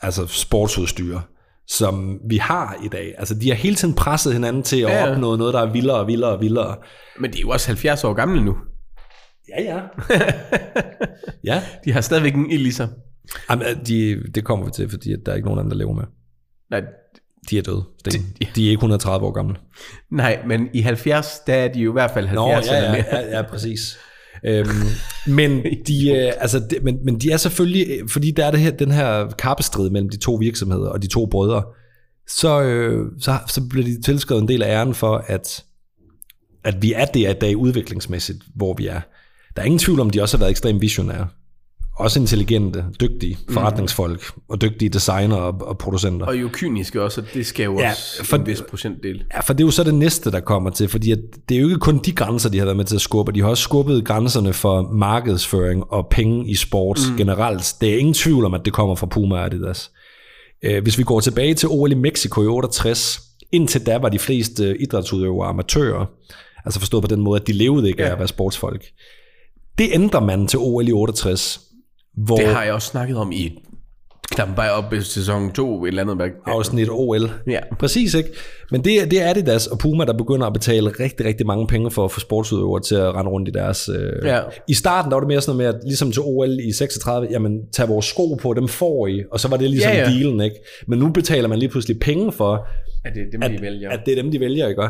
altså sportsudstyr, som vi har i dag. Altså, de har hele tiden presset hinanden til at Ja, ja. opnå noget, der er vildere og vildere og vildere. Men de er jo også 70 år gamle nu. Ja, ja. ja. De har stadigvæk en ild i sig. Jamen, øh, de, det kommer vi til, fordi at der er ikke nogen anden, der lever med. Nej, De er døde. De, de er ikke 130 år gamle. nej, men i 70, der er de jo i hvert fald 70 eller mere. ja, ja, præcis. øhm, men, de, øh, altså, de, men, men de er selvfølgelig, øh, fordi der er det her, den her kappestrid mellem de to virksomheder og de to brødre, så, øh, så, så bliver de tilskrevet en del af æren for, at, at vi er der i dag udviklingsmæssigt, hvor vi er. Der er ingen tvivl om, de også har været ekstremt visionære. Også intelligente, dygtige forretningsfolk og dygtige designer og, og producenter. Og jo kyniske også, og det skal jo Ja, også for- en vis procentdel. Ja, for det er jo så det næste, der kommer til, fordi at det er jo ikke kun de grænser, de har været med til at skubbe, de har også skubbet grænserne for markedsføring og penge i sport mm. generelt. Det er ingen tvivl om, at det kommer fra Puma og Adidas. Øh, Hvis vi går tilbage til OL i Mexico i 68, indtil da var de fleste øh, idrætsudøvere amatører, altså forstået på den måde, at de levede ikke ja. af at være sportsfolk. Det ændrer man til OL i 68, hvor Det har jeg også snakket om i knap bare op i sæson 2 eller andet. hvad- afsnit OL. Ja. Præcis, ikke? Men det, er- det er Adidas og Puma, der begynder at betale rigtig, rigtig mange penge for at få sportsudøvere til at rende rundt i deres... Øh... Ja. I starten der var det mere sådan noget med, at ligesom til OL i 36, jamen, tag vores sko på, dem får I, og så var det ligesom Ja, ja, ja. ja. dealen, ikke? Men nu betaler man lige pludselig penge for, Er det dem, de vælger? at det er dem, de vælger, ikke?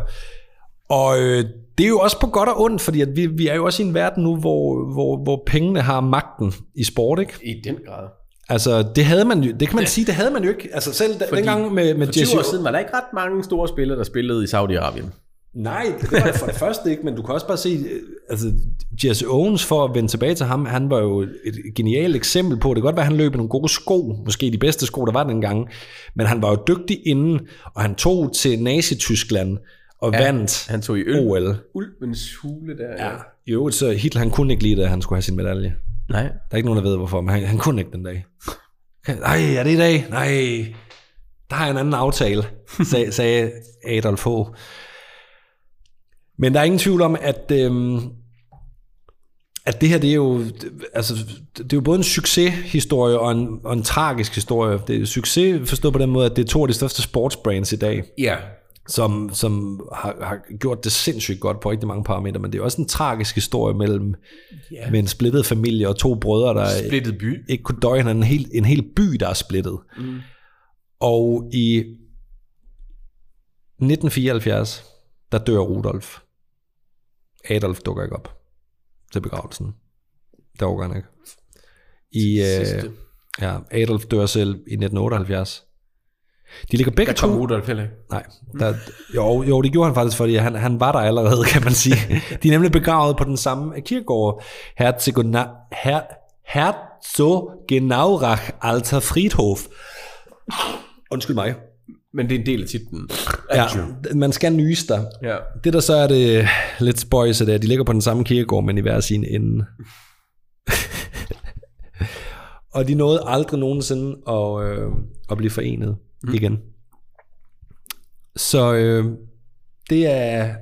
Og øh, det er jo også på godt og ondt, fordi at vi, vi er jo også i en verden nu, hvor, hvor, hvor pengene har magten i sport, ikke? I den grad. Altså, det havde man jo, det kan man sige, det havde man jo ikke. Altså, selv fordi, dengang med, med For 20 Jesse år siden var der ikke ret mange store spillere, der spillede i Saudi-Arabien. Nej, det var det for det første ikke, men du kan også bare se, øh, altså Jesse Owens, for at vende tilbage til ham, han var jo et genialt eksempel på, det kan godt være, han løb i nogle gode sko, måske de bedste sko, der var dengang, men han var jo dygtig inden, og han tog til Nazi-Tyskland og Oh, ja, vandt Han tog i øl. OL. Ulvens hule der. Ja. I øvrigt så Hitler, han kunne ikke lide det, at han skulle have sin medalje. Der Nej. er ikke nogen, der ved hvorfor, men han, han kunne ikke den dag. Nej, er det i dag? Nej, der har jeg en anden aftale, sag, sagde Adolf H. Men der er ingen tvivl om, at, øhm, at det her, det er, jo, altså, det er jo både en succeshistorie og en, og en tragisk historie. Det er succes forstået på den måde, at det er to af de største sportsbrands i dag Ja. som, som har, har gjort det sindssygt godt på rigtig mange parametre, men det er også en tragisk historie mellem Ja. yeah. med en splittet familie og to brødre, der Splittet by. ikke kunne døje hinanden, en hel, en hel by, der er splittet. Mm. Og i 1974, der dør Rudolf. Adolf dukker ikke op til begravelsen. Der overgår han ikke. I, øh, Sidste. ja, Adolf dør selv i 1978. De ligger begge Der kom to... Rudolf heller ikke. Nej, der, jo, jo, det gjorde han faktisk, fordi han, han var der allerede, kan man sige. De er nemlig begravet på den samme kirkegård, Herzogena- Her, Herzogenaurach Alter Friedhof. Undskyld mig. Men det er en del af titlen. Ja, man skal nyse der. ja. Det der så er det lidt spøjse, det er, at de ligger på den samme kirkegård, men i hver sin ende. og de nåede aldrig nogensinde at, øh, at blive forenet mm. igen. Så øh, det, er,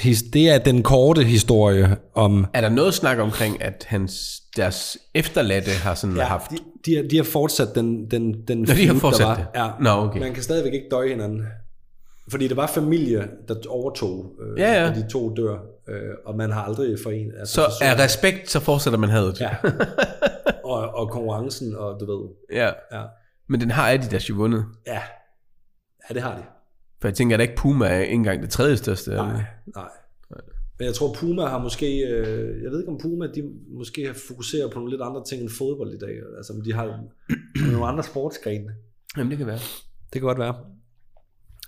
his- det er den korte historie om... Er der noget snak omkring, at hans, deres efterladte har sådan ja, haft... De, de, har, de har fortsat den, den, den Nå, de har fortsat det? Ja. Nå, okay. Man kan stadigvæk ikke døje hinanden. Fordi det var familie, der overtog, øh, Ja, ja. og de to dør, øh, og man har aldrig forenet. Altså, Så forsøgt- af respekt, så fortsætter man hadet. Ja. og, og konkurrencen, og du ved. ja. Ja. Men den har Adidas jo vundet. Ja, ja det har de. For jeg tænker, at ikke Puma er ikke engang det tredje største. Nej, nej. Men jeg tror, Puma har måske... Øh, jeg ved ikke, om Puma de måske har fokuseret på nogle lidt andre ting end fodbold i dag. Altså, om de har nogle andre sportsgrene. Jamen, det kan være. Det kan godt være.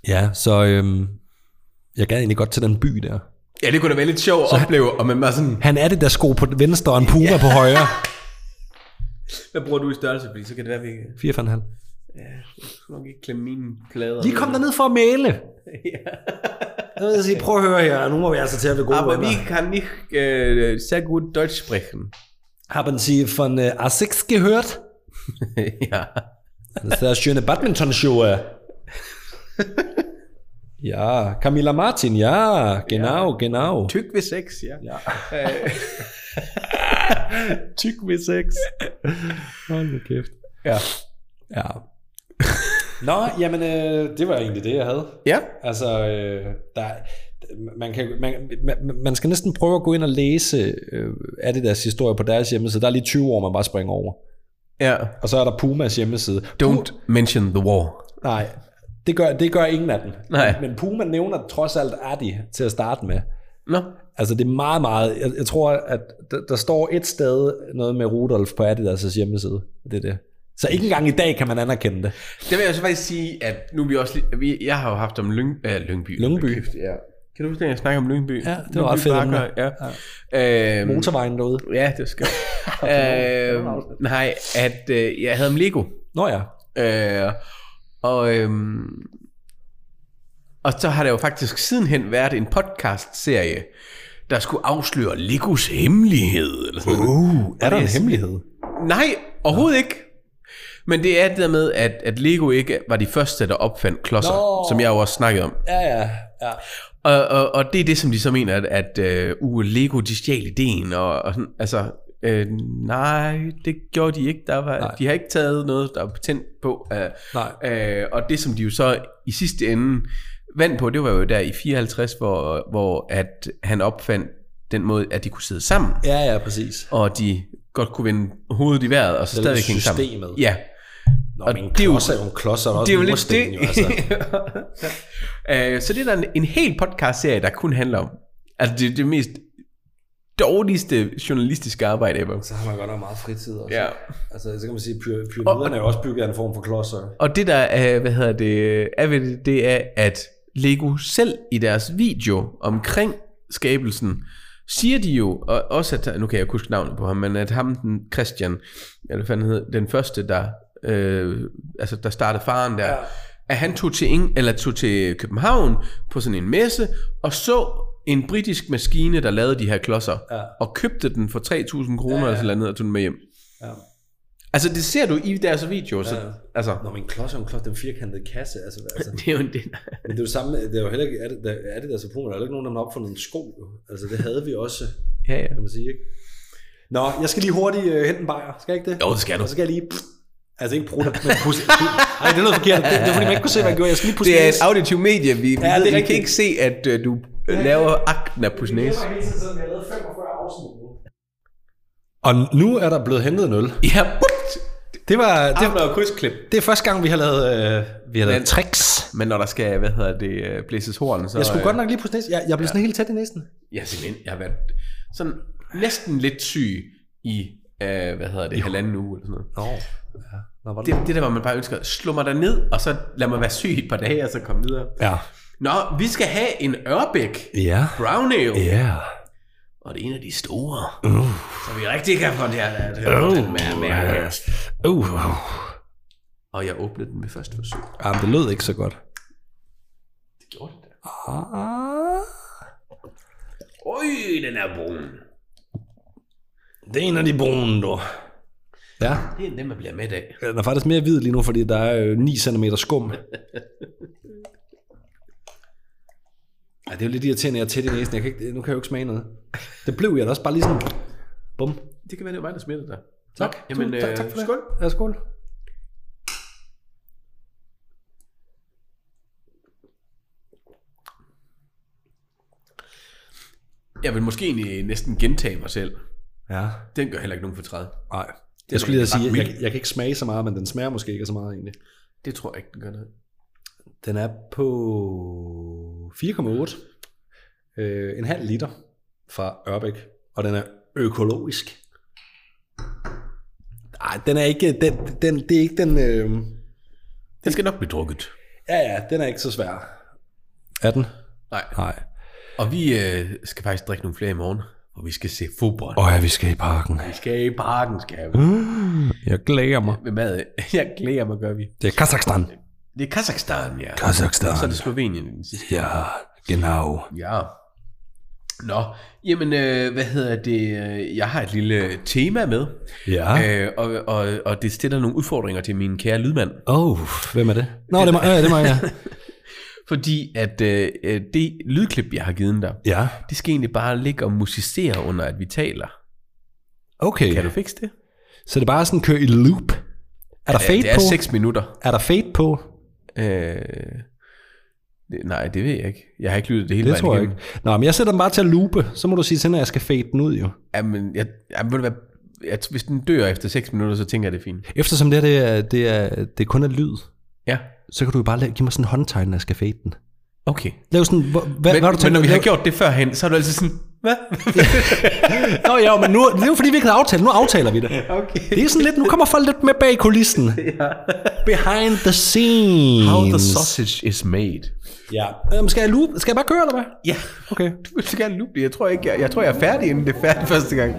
Ja, så øhm, jeg gad egentlig godt til den by der. Ja, det kunne da være lidt sjovt at opleve, og man var sådan, Han er det der sko på venstre og en Puma på højre. hvad bruger du i størrelse, fordi så kan det være, at vi kan 4,5. nok ikke klemme mine plader. Lige kom derned for at male. Ja. Jeg vil sige, prøv at høre her. Nu må vi altså til at blive gode Aber venner. vi kan ikke øh, så godt Deutsch sprechen. Haben Sie von äh, A6 gehört? ja. Das sehr schöne Badminton-Schuhe. øh. Ja, Camila Martin, ja, genau, genau. Tyk ved sex, ja. Ja. Øh, Tyk ved sex. Hold nu kæft. ja. Ja. Nå, jamen, øh, det var egentlig det, jeg havde. ja. Altså, øh, der, man, kan, man, man, man skal næsten prøve at gå ind og læse øh, Adidas historie på deres hjemmeside. Der er lige 20 år, man bare springer over. Ja. Og så er der Pumas hjemmeside. Don't mention the war. Nej, det gør, det gør ingen af dem. Nej. Men Puma nævner trods alt Adi til at starte med. Nå. Altså det er meget, meget... Jeg, jeg tror, at der, der står et sted noget med Rudolf på Adidas' hjemmeside. Det er det. Så ikke engang i dag kan man anerkende det. Det vil jeg så faktisk sige, at nu er vi også lige, vi, jeg har jo haft om Lyng, øh, Lyngby. Lyngby. Kæft, ja. Kan du huske, at jeg snakkede om Lyngby? Ja, det var ret fedt Bakker, emne. Ja. ja. Øhm, Motorvejen derude. Ja, det skal det øh, var afsnit. Nej, at øh, jeg havde dem Lego. Nå ja. Øh, og, øhm, og så har der jo faktisk sidenhen været en podcast-serie, der skulle afsløre Legos hemmelighed. Eller sådan noget. Uh, er der en hemmelighed? Nej, overhovedet ikke. Men det er det der med, at, at Lego ikke var de første, der opfandt klodser, Nå. som jeg jo også snakkede om. Ja, ja, ja. Og, og, og det er det, som de så mener, at, at øh, uh, Lego, de stjal ideen, og, og sådan, altså, øh, nej, det gjorde de ikke. Der var, Nej. De har ikke taget noget, der er patent på. Øh, Nej. Øh, og det, som de jo så i sidste ende vandt på, det var jo der i 54, hvor, hvor at han opfandt den måde, at de kunne sidde sammen, Ja, ja, præcis. og de godt kunne vende hovedet i vejret, og så Selve stadig hænge sammen. systemet. Ja, Nå, Og men det er jo- klodser er jo en klods, og der er også det er jo lidt mursten, det. Jo, altså. Øh, så det er der en, en hel podcastserie, der kun handler om. Altså det, det mest dårligste journalistiske arbejde ever. Så har man godt nok meget fritid også. Ja. Altså, så kan man sige, at pyra- pyramiderne er jo også bygget af en form for klodser. Og det der er, hvad hedder det, er ved det, det er, at Lego selv i deres video omkring skabelsen, siger de jo, og også at, nu kan jeg ikke huske navnet på ham, men at ham, den Christian, eller hvad fanden hed, den første, der, øh, altså, der startede faren der, ja. at han tog til, Eng, eller tog til København på sådan en messe, og så en britisk maskine, der lavede de her klodser, Ja. og købte den for 3.000 kroner ja, ja. eller sådan noget, og tog den med hjem. Ja. Altså, det ser du i deres video, så, Ja, ja. altså, Nå, men en klods er jo en klods, den firkantede kasse. Altså, altså, det er jo en del. men det er jo samme, det er jo heller ikke, er det, der- er det der så på, der er jo ikke nogen, der har opfundet en sko. Jo. Altså, det havde vi også, Ja, ja. kan man sige, ikke? Nå, jeg skal lige hurtigt øh, hente en bajer, skal jeg ikke det? Jo, det skal du. Og så skal jeg lige... altså ikke bruge det, men pusse... Nej, det er noget forkert. Det, det er fordi, man ikke kunne se, hvad jeg gjorde. Jeg skal lige pusse Det er et næse. auditivt medie. Vi, ja, det er vi, vi kan rigtigt. ikke se, at øh, du øh, laver akten af pusnæs. Og nu er der blevet hentet en øl. Ja, but! Det var... Det, Det var krydsklip. det er første gang, vi har lavet, øh, vi har lavet Men- tricks. Men når der skal, hvad hedder det, øh, blæses horn, så... øh, Jeg skulle godt nok lige pusse næse. Jeg, jeg blev sådan helt tæt i næsten. Jeg, simpelthen, jeg har været sådan næsten lidt syg i, øh, hvad hedder det, halvanden uge eller sådan noget. Nå. Nå, var det? Det, det der, hvor man bare ønsker, slå mig der ned, og så lad mig være syg i et par dage, og så komme videre. Ja. Nå, vi skal have en Ørbæk Ja. Brown Ale. Ja. Og det er en af de store. Uh. Oh. Så vi rigtig kan få den her. Der, der, Uh. den med, med, med. Uh. Og jeg åbnede den ved første forsøg. Jamen, det lød ikke så godt. Det gjorde det da. Ah. Øj, den er brun. Det er en af de brune, du. Ja. Det er den, man bliver med af. Den er faktisk mere hvid lige nu, fordi der er øh, 9 cm skum. Ja, det er jo lidt irriterende, at jeg er tæt i næsen. Jeg kan ikke, nu kan jeg jo ikke smage noget. Det blev jeg da også bare lige sådan... Bum. Det kan være, det var mig, der smittede dig. Tak. Nå, Jamen, øh, tak, tak for det. skål. Ja, skål. Jeg vil måske egentlig næsten gentage mig selv. Ja. Den gør heller ikke nogen for 30. Nej. Jeg skulle lige ret sige, at jeg, mild. jeg kan ikke smage så meget, men den smager måske ikke så meget egentlig. Det tror jeg ikke, den gør noget. Den er på 4,8. Øh, en halv liter fra Ørbæk. Og den er økologisk. Nej, den er ikke... Den, den, det er ikke den... Øh, Den skal nok blive drukket. ja, ja, den er ikke så svær. Er den? Nej. Nej. Og vi øh, skal faktisk drikke nogle flere i morgen, og vi skal se fodbold. Åh ja, vi skal i parken. Vi skal i parken, skal vi. Jeg glæder mig. Med mad. Jeg glæder mig, gør vi. Det er Kazakhstan. Det er Kazakhstan, ja. Kazakhstan. Så er det Slovenien. den sidste. Ja, genau. Ja. Nå, jamen, øh, hvad hedder det? øh, Jeg har et lille tema med, Ja. øh, og, og, og det stiller nogle udfordringer til min kære lydmand. Åh, oh, hvem er det? Nå, det er mig, ja, det er mig ja. Fordi at øh, øh, det lydklip, jeg har givet dig, ja, det skal egentlig bare ligge og musicere under, at vi taler. okay. Kan du fikse det? Så det er bare sådan kør i loop. Er der fade det er på? 6 minutter. Er der fade på? Øh, det, nej, det ved jeg ikke. Jeg har ikke lyttet det hele Det vejen tror jeg igennem. ikke. Nå, men jeg sætter den bare til at loope. Så må du sige til, når jeg skal fade den ud jo. Jamen, jeg, jamen, ved du hvad? Jeg, hvis den dør efter 6 minutter, så tænker jeg, det er fint. Eftersom det her det er, det er, det kun er lyd, Ja, så kan du jo bare lave, give mig sådan en håndtegn, når jeg skal fade den. okay. Lav sådan, hvor, hvad, Men, hvad har du men tænkt når dig vi at har lave? gjort det førhen, så er du altid sådan, hvad? Nå ja, men nu, det er jo fordi, vi ikke havde aftalt. Nu aftaler vi det. okay. Det er sådan lidt, nu kommer folk lidt med bag kulissen. Behind the scenes. How the sausage is made. Ja. Øhm, skal jeg loop? Skal jeg bare køre, eller hvad? Ja, Okay. du vil så gerne lupe det. Jeg tror, ikke, jeg, jeg tror, jeg er færdig, inden det er færdigt første gang.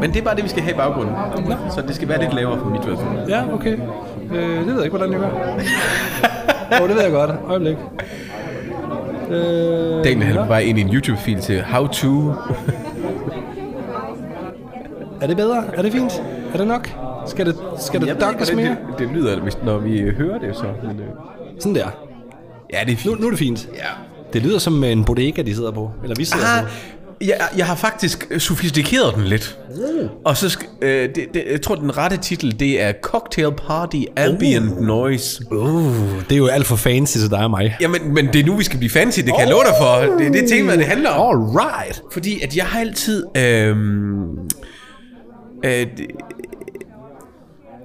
Men det er bare det, vi skal have i baggrunden. Så det skal være lidt lavere for mit vedkommende. Ja, okay. Øh, det ved jeg ikke, hvordan jeg gør. Åh, oh, det ved jeg godt. Øjeblik. Øh, Daniel, han var bare ind i en YouTube-fil til How to. er det bedre? Er det fint? Er det nok? Skal det, skal det dokkes mere? det, det lyder, hvis, når vi øh, hører det så. Men, øh, Sådan der. ja, det er Nu, fint. nu er det fint. Ja. Det lyder som øh, en bodega, de sidder på. Eller vi sidder Ah, på. jeg, jeg har faktisk øh, sofistikeret den lidt. Og så, sk- øh, det, det, jeg tror, den rette titel, det er Cocktail Party Ambient Noise. Oh. Uh, det er jo alt for fancy til dig og mig. Jamen, men det er nu, vi skal blive fancy, det kan jeg love dig for. Det er det tema, det handler om. Alright. Fordi at jeg har altid... øhm, Øh, det-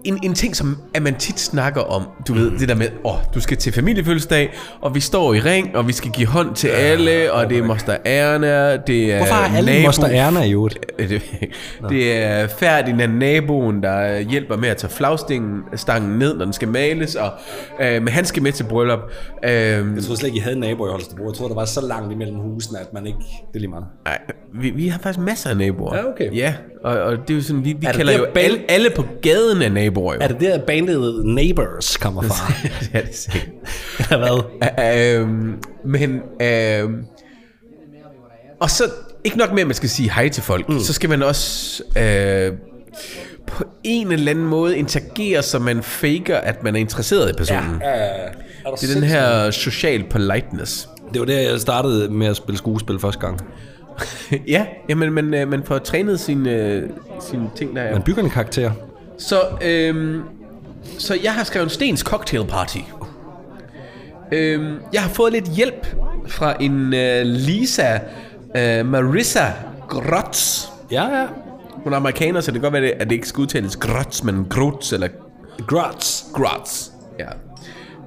en, en ting, som at man tit snakker om, du ved, det der med, åh, oh, du skal til familiefødselsdag, og vi står i ring, og vi skal give hånd til alle, og det er moster Erna, det er Hvorfor har alle nabo- Moster Øh, Erna i øvrigt? Øh, det- Det er Ferdinand, naboen, der hjælper med at tage flagstingen stangen ned, når den skal males, og øh, men han skal med til bryllup. Øh, Jeg troede slet ikke, I havde en nabo i Holstebro. Jeg troede, der var så langt imellem husene, at man ikke... Det er lige meget. Nej, vi, vi har faktisk masser af naboer. Ja, okay. Ja, og, og det er jo sådan, vi, vi det kalder der jo band- alle, alle på gaden er naboer jo. Er det der, bandet Neighbors kommer fra? ja, det er sikkert. Eller hvad? øhm, men, øhm, og så, ikke nok med, at man skal sige hej til folk, mm. så skal man også øh, på en eller anden måde interagere, så man faker, at man er interesseret i Mm. personen. Ja, det er den her social politeness. Det var der, jeg startede med at spille skuespil første gang. ja, jamen, man, øh, man får trænet sine, øh, sine ting, der er Man bygger en karakter. Så, øhm, så jeg har skrevet Stens Cocktail Party. Øhm, jeg har fået lidt hjælp fra en øh, Lisa øh, Marissa Grotz. Ja, ja. Hun er amerikaner, så det kan godt være, at det ikke skal udtales Grotz, men Grotz eller Grots. Grotz. Ja.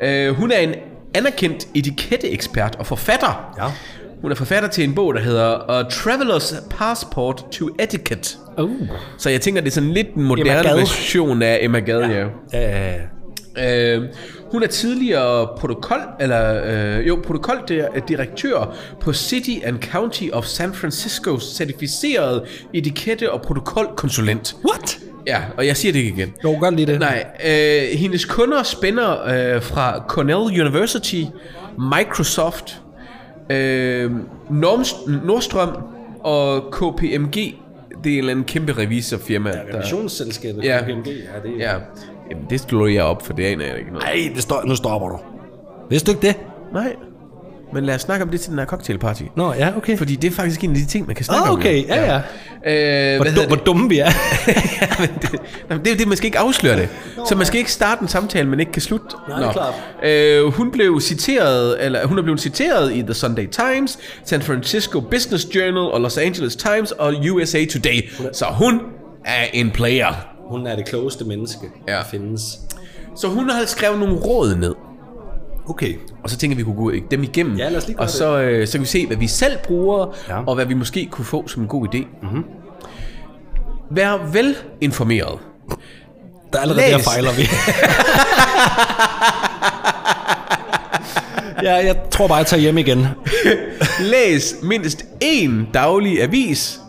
Øh, hun er en anerkendt etiketteekspert og forfatter. Ja. Hun er forfatter til en bog, der hedder uh, Traveler's Passport to Etiquette. Uh. Så jeg tænker, det er sådan lidt en Emma moderne Gad. version af Emma Gad, ja. ja. Uh, Øh, hun er tidligere protokol, eller øh, jo, protokoldirektør på City and County of San Francisco, certificeret etikette- og protokolkonsulent. what? Ja, og jeg siger det ikke igen. Jo, godt lige det. Nej, øh, hendes kunder spænder øh, fra Cornell University, Microsoft, øh, Norms- Nordstrøm og KPMG. Det er en eller anden kæmpe revisorfirma. Ja, Visionsselskabet. Ja. KPMG, ja, det er... ja. Jamen, det slår jeg op, for det aner jeg ikke noget. Ej, det står, nu stopper du. Vidste du ikke det? Nej, men lad os snakke om det til den her cocktailparty. Nå, ja, okay. Fordi det er faktisk en af de ting, man kan snakke Ah, om. okay, ja, ja. ja. Øh, Hvor, hvad dum, hedder hvor det? dumme vi er. Jamen, det, nej, men det er jo det, man skal ikke afsløre det. Så man skal ikke starte en samtale, man ikke kan slutte. Nej, det er klart. Øh, hun blev citeret, eller hun er blevet citeret i The Sunday Times, San Francisco Business Journal og Los Angeles Times og USA Today. Så hun er en player. Hun er det klogeste menneske, Ja. findes. Så hun har skrevet nogle råd ned. Okay. Og så tænker vi, at vi kunne gå dem igennem. Ja, lad os lige gøre og så, øh, så kan vi se, hvad vi selv bruger, Ja. ja. og hvad vi måske kunne få som en god idé. Mm-hmm. Vær velinformeret. Der er allerede Læs. der fejler vi. ja, jeg tror bare, jeg tager hjem igen. Læs mindst én daglig avis,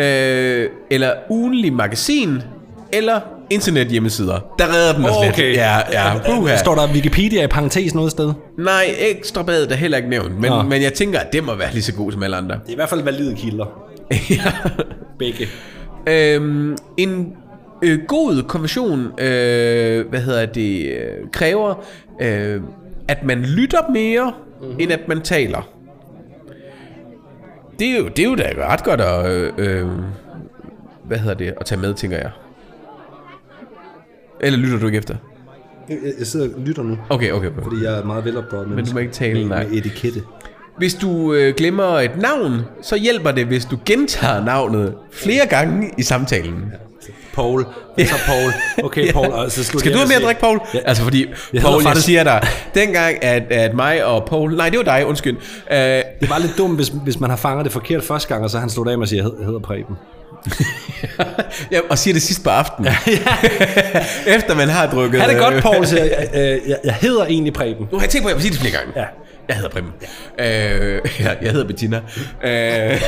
øh, eller ugenlig magasin, eller internethjemmesider. Der redder den os lidt. Ja, ja. Puha. Øh, Står der Wikipedia i parentes noget sted? Nej, ekstra badet er heller ikke nævnt, men, Nå. men jeg tænker, at det må være lige så god som alle andre. Det er i hvert fald valide kilder. ja. Begge. Øhm, en øh, god konversion, øh, hvad hedder det, øh, kræver, øh, at man lytter mere, mm-hmm. end at man taler. Det er jo, det er jo da ret godt at, øh, øh, hvad hedder det, at tage med, tænker jeg. Eller lytter du ikke efter? Jeg, jeg sidder og lytter nu, Okay, okay. okay. fordi jeg er meget velopdraget Men du må ikke tale, nej. etikette. Hvis du øh, glemmer et navn, så hjælper det, hvis du gentager navnet flere gange i samtalen. Paul. Så Paul. Okay, Paul. Og så Skal du have mere at drikke, Paul? Ja. Altså, fordi jeg hedder Paul, jeg faktisk- siger dig, dengang at, at mig og Paul... Nej, det var dig, undskyld. Øh, Det var lidt dumt, hvis, hvis man har fanget det forkert første gang, og så har han slået af med at sige, at jeg hedder Preben. ja, og siger det sidst på aftenen. Efter man har drukket... Er det godt, øh, Paul? Så jeg, jeg, jeg, jeg hedder egentlig Preben. Nu har jeg tænkt på, at jeg vil sige det flere gange. Ja. Jeg hedder Preben. Ja. Øh, jeg, jeg hedder Bettina. Øh,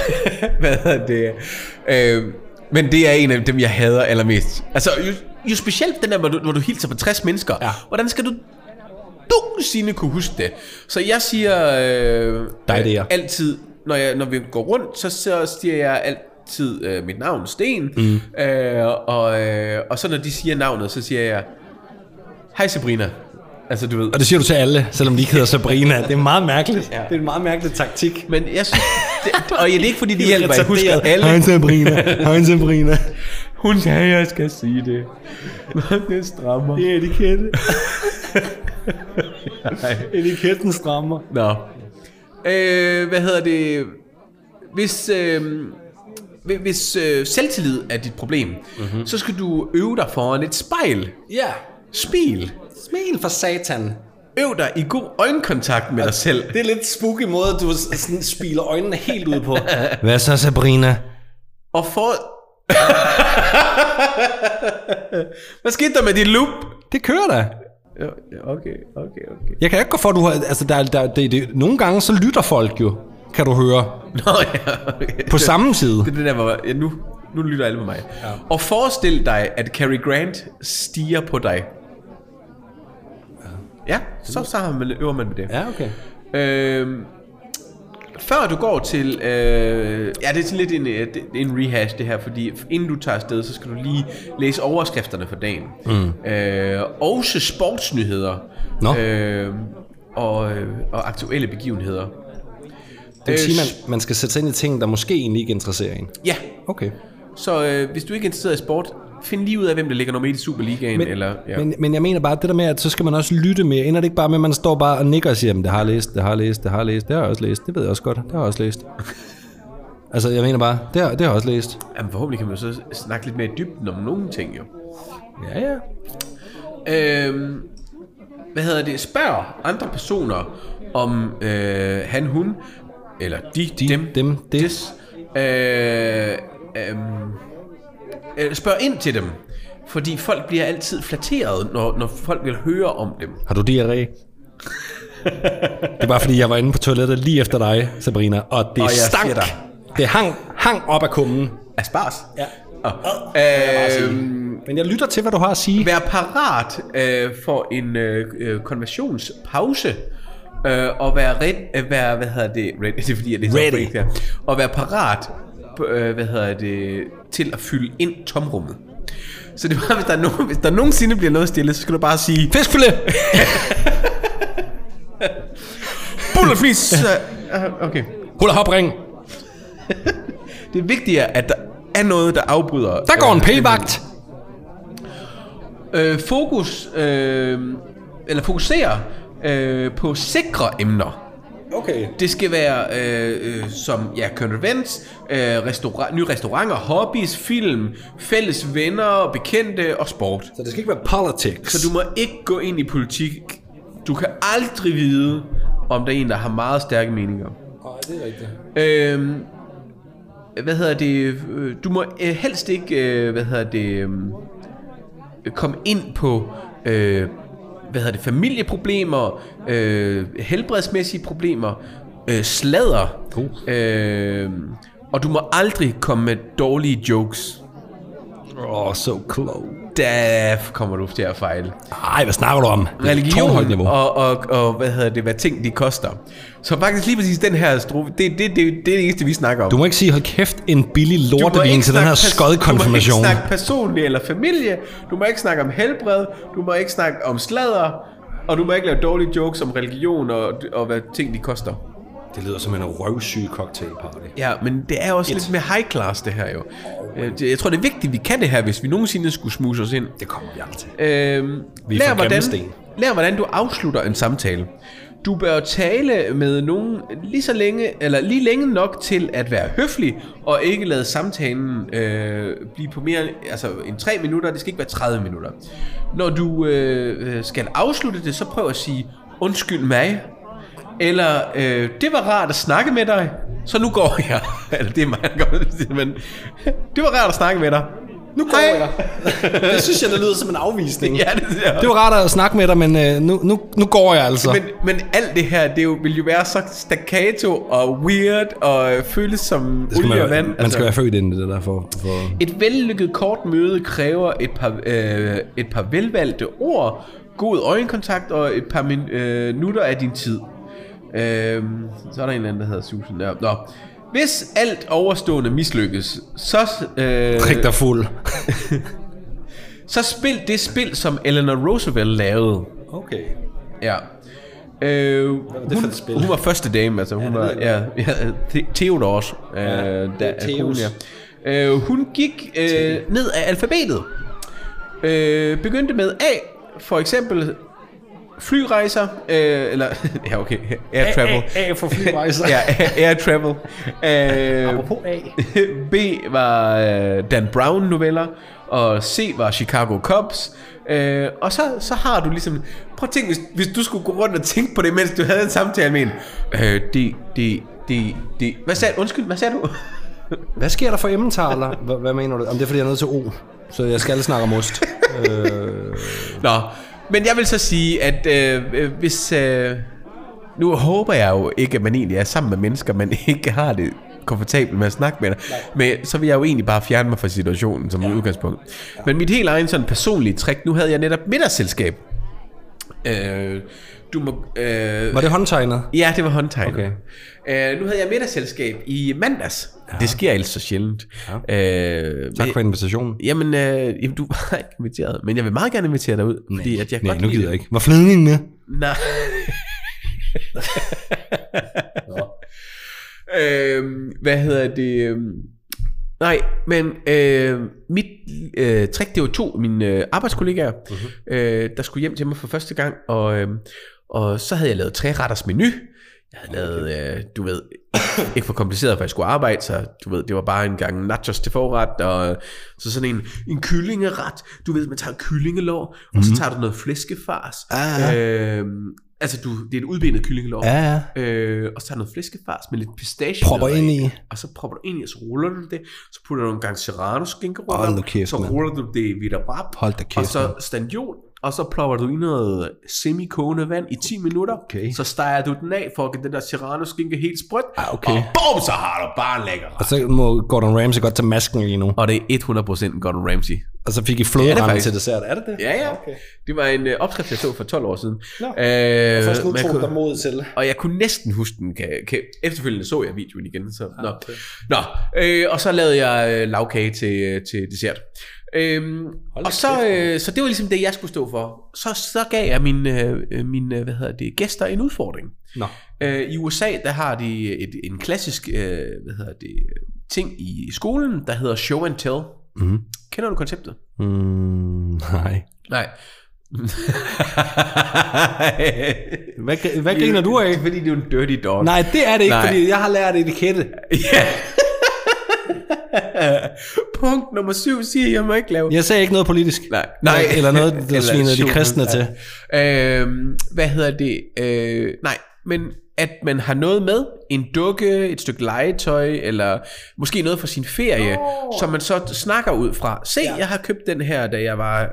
hvad hedder det? Øh, men det er en af dem, jeg hader allermest. Altså, jo, jo specielt den der, hvor du, hvor du hilser på 60 mennesker. Ja. Hvordan skal du du sine kunne huske det. Så jeg siger øh, Dig, det er jeg. altid, når, jeg, når vi går rundt, så, så siger jeg altid øh, mit navn, Sten. Mm. Øh, og, øh, og så når de siger navnet, så siger jeg, hej Sabrina. Altså du ved, Og det siger du til alle, selvom de ikke hedder Sabrina. Det er meget mærkeligt. Ja. Det er en meget mærkelig taktik. Men jeg synes, det, og ja, det er ikke fordi, det hjælper. Jeg husker alle. Sabrina. Hej Sabrina. Hun sagde, jeg skal sige det. det strammer. Det er etikette. Etiketten strammer. Nå. Øh, hvad hedder det? Hvis, øh, hvi- hvis øh, selvtillid er dit problem, mm-hmm. så skal du øve dig foran et spejl. Ja. Spil. Smil for satan. Øv dig i god øjenkontakt med dig selv. Det er lidt spooky måde, at du sådan spiler øjnene helt ud på. Hvad så, Sabrina? Og for... hvad skete der med dit loop? Det kører da. Okay, okay, okay. Jeg kan ikke gå for, at du har... Altså, der, er- der, det, det, nogle gange så lytter folk jo, kan du høre, Nå ja, okay. på samme side. Det er det der, hvor ja, nu, nu lytter alle på mig. Ja. Og forestil dig, at Cary Grant stiger på dig. Ja, så, så har man, øver man med det. Ja, okay. Øhm, før du går til... Øh, ja, det er sådan lidt en, øh, det- en rehash det her, fordi inden du tager afsted, så skal du lige læse overskrifterne for dagen. Mm. Øh, også sportsnyheder. Nå. Øh, og, øh, og aktuelle begivenheder. Det vil Øh, sige, man, man skal sætte sig ind i ting, der måske egentlig ikke interesserer en. Ja, Okay. Så øh, hvis du ikke er interesseret i sport, find lige ud af, hvem der ligger nummer 1 i Superligaen. Men, eller, ja. men, men jeg mener bare, at det der med, at så skal man også lytte mere. Ender det ikke bare med, at man står bare og nikker og siger, "Jamen, det har jeg læst, det har jeg læst, det har jeg læst, det har jeg også læst, det ved jeg også godt, det har jeg også læst. altså, jeg mener bare, det har, det har jeg også læst. Jamen, forhåbentlig kan man jo så snakke lidt mere i dybden om nogle ting, jo. Ja, ja. Øhm, hvad hedder det? Spørg andre personer, om øh, han, hun eller de, de dem, dem, det. des, øh, øhm, øh, spørg ind til dem. Fordi folk bliver altid flatteret, når, når folk vil høre om dem. Har du diarré? det var fordi, jeg var inde på toilettet lige efter dig, Sabrina, og det jeg og stank. fedter. Det hang, hang op af kummen. Aspars. Ja. Ah. Øh, Men jeg lytter til, hvad du har at sige. Vær parat øh, for en øh, øh, konversionspause. Øh, og være red, øh, være, hvad hedder det, red, det er fordi, jeg læser Ready. Ready. Her, og være parat, på, øh, hvad hedder det, til at fylde ind tomrummet. Så det var, hvis der, er nogen, hvis der nogensinde bliver noget stille, så skal du bare sige, Fiskfilet! Bullerfis! Øh, okay. Hul og hopring! Det er vigtigere, at der er noget, der afbryder. Der går en øh, p-vagt! øh, fokus, øh, eller fokusere øh, på sikre emner. Okay. Det skal være øh, øh, som ja, convents, øh, restaurant, nye restauranter, hobbies, film, fælles venner, bekendte og sport. Så det skal ikke være politics. Så du må ikke gå ind i politik. Du kan aldrig vide, om der er en, der har meget stærke meninger. Nej, det er rigtigt. Øhm, hvad hedder det? øh, Du må øh, helst ikke, øh, hvad hedder det, øh, komme ind på, øh, hvad hedder det, familieproblemer, øh, helbredsmæssige problemer, øh, sladder. Uh. Øh, og du må aldrig komme med dårlige jokes. Åh, oh, so close. Der kommer du til at fejle. Ej, hvad snakker du om? Det er tårnhøjt religion niveau. og, og, og, hvad hedder det, hvad ting de koster. Så faktisk lige præcis den her strofe, det, det, det, det er det eneste, vi snakker om. Du må ikke sige, hold kæft, en billig Du må lortevin ikke til den her snakke pers- Du skodkonfirmation. må ikke snakke personlig eller familie. Du må ikke snakke om helbred. Du må ikke snakke om sladder. Og du må ikke lave dårlige jokes om religion og, og hvad ting de koster. Det lyder som en røvsyg cocktailparty. Ja, men det er også lidt mere high class, det her jo. Øh, det- Jeg tror, det er vigtigt, vi kan det her, hvis vi nogensinde skulle smuse os ind. Det kommer vi aldrig til. Øhm, Vi er lær, fra hvordan, Grimsten. lær, hvordan du afslutter en samtale. Du bør tale med nogen lige så længe, eller lige længe nok til at være høflig, og ikke lade samtalen øh, blive på mere altså, end 3 minutter. Det skal ikke være 30 minutter. Når du øh, øh, skal afslutte det, så prøv at sige, undskyld mig, eller, øh, det var rart at snakke med dig, så nu går jeg. Eller det er mig, der går, men det var rart at snakke med dig. Nu går Hej. Øh, jeg. Det synes jeg, det lyder som en afvisning. Ja, det, er. Det var rart at snakke med dig, men øh, nu, nu, nu går jeg altså. Men, men alt det her, det jo, vil jo være så staccato og weird og øh, føles som skal olie man, og vand. Altså, man skal være født inden i det der for... for... Et vellykket kort møde kræver et par, øh, et par velvalgte ord, god øjenkontakt og et par min, øh, minutter af din tid. Øh, så er der en eller anden, der hedder Susan. Ja. Nå. Hvis alt overstående mislykkes, så, øh, Prik dig fuld. så spil det spil, som Eleanor Roosevelt lavede. Okay. Ja. Øh, var det for et spil? hun, hun var første dame, altså hun ja, var ved ja, ja, Te- Theodors, øh, ja, der Theos. er konen, ja. øh, Hun gik øh, ned af alfabetet. Øh, begyndte med A, for eksempel flyrejser, øh, eller ja okay, air travel. A for flyrejser. ja, air travel. Øh, A. B var øh, Dan Brown noveller, og C var Chicago Cubs. Øh, og så, så har du ligesom... Prøv at tænke, hvis, hvis du skulle gå rundt og tænke på det, mens du havde en samtale med en. Øh, det, det, det, det... Hvad sagde du? Undskyld, hvad sagde du? Hvad sker der for emmentaler? Hvad, hvad mener du? Om det er, fordi jeg er nødt til O. Så jeg skal snakke om ost. øh, Nå, men jeg vil så sige, at øh, øh, hvis... Øh, nu håber jeg jo ikke, at man egentlig er sammen med mennesker, man ikke har det komfortabelt med at snakke med dig. Men så vil jeg jo egentlig bare fjerne mig fra situationen som ja. udgangspunkt. Men mit helt egen sådan personlige trick, nu havde jeg netop middagsselskab. Øh, du må... Øh, var det håndtegnet? Ja, det var håndtegnet. Okay. Øh, nu havde jeg middagsselskab i mandags. Ja. Det sker ellers så sjældent. Ja. Øh, Tak men- for invitationen. Jamen, øh, jamen, du var ikke inviteret, men jeg vil meget gerne invitere dig ud, fordi at jeg Nej, godt nu lide gider det. jeg ikke. Var flædningen med? Nej. øhm, hvad hedder det? øhm, Nej, men øh, mit øh, trick, det var to af mine øh, arbejdskollegaer, mm-hmm. øh, der skulle hjem til mig for første gang, og, øh, og så havde jeg lavet træretters menu. Jeg havde lavet, øh, du ved, ikke for kompliceret, for jeg skulle arbejde, så du ved, det var bare en gang nachos til forret, og så sådan en, en kyllingeret, du ved, man tager kyllingelår, mm-hmm. og så tager du noget flæskefars, Ah. øh, Altså, du, det er et udbenet kyllingelår. Ja, ja. Øh, og så er der noget flæskefars med lidt pistache. Propper ind i. Og så propper du ind i, og så ruller du det. Så putter du en gang serrano skinkerød. Hold nu kæft, Så mand. ruller du det i brab. Hold da kæft, Og så standjol. Og så plopper du i noget semikogende vand i 10 minutter. Okay. Så steger du den af for at give den der serrano skinke helt sprødt. Ah, okay. Og bum, så har du bare en lækker Og ret. så må Gordon Ramsay godt tage masken lige nu. Og det er 100% Gordon Ramsay. Og så fik I fløderamme faktisk. til dessert. Er det det? Ja, ja. Okay. Det var en øh, opskrift, jeg så for 12 år siden. Nå. Øh, Først nu men jeg tog kunne- der mod til. Og jeg kunne næsten huske den. Kan, kan, efterfølgende så jeg videoen igen. Så, nå. nå øh, og så lavede jeg øh, lavkage til, øh, til dessert. Øhm, Hold da og så, kæft, øh, så det var ligesom det, jeg skulle stå for. Så, så gav jeg mine, øh, øh, mine øh, hvad hedder det, gæster en udfordring. Nå. Øh, I USA, der har de et, en klassisk øh, hvad hedder det, ting i skolen, der hedder show and tell. Mm. Kender du konceptet? Mm, nej. Nej. Hvad, hvad griner du af? Det er, Fordi det er jo en dirty dog. Nej, det er det ikke, Nej. nej. fordi jeg har lært etikette. Ja. Punkt nummer syv siger, at jeg må ikke lave... Jeg sagde ikke noget politisk. Nej. Nej, eller noget, der Eller svinede de syv- kristne Nej. til. Øhm, hvad hedder det? Øh, nej, men at man har noget med, en dukke, et stykke legetøj, eller måske noget fra sin ferie, oh. som man så snakker ud fra. Se, ja. jeg har købt den her, da jeg var et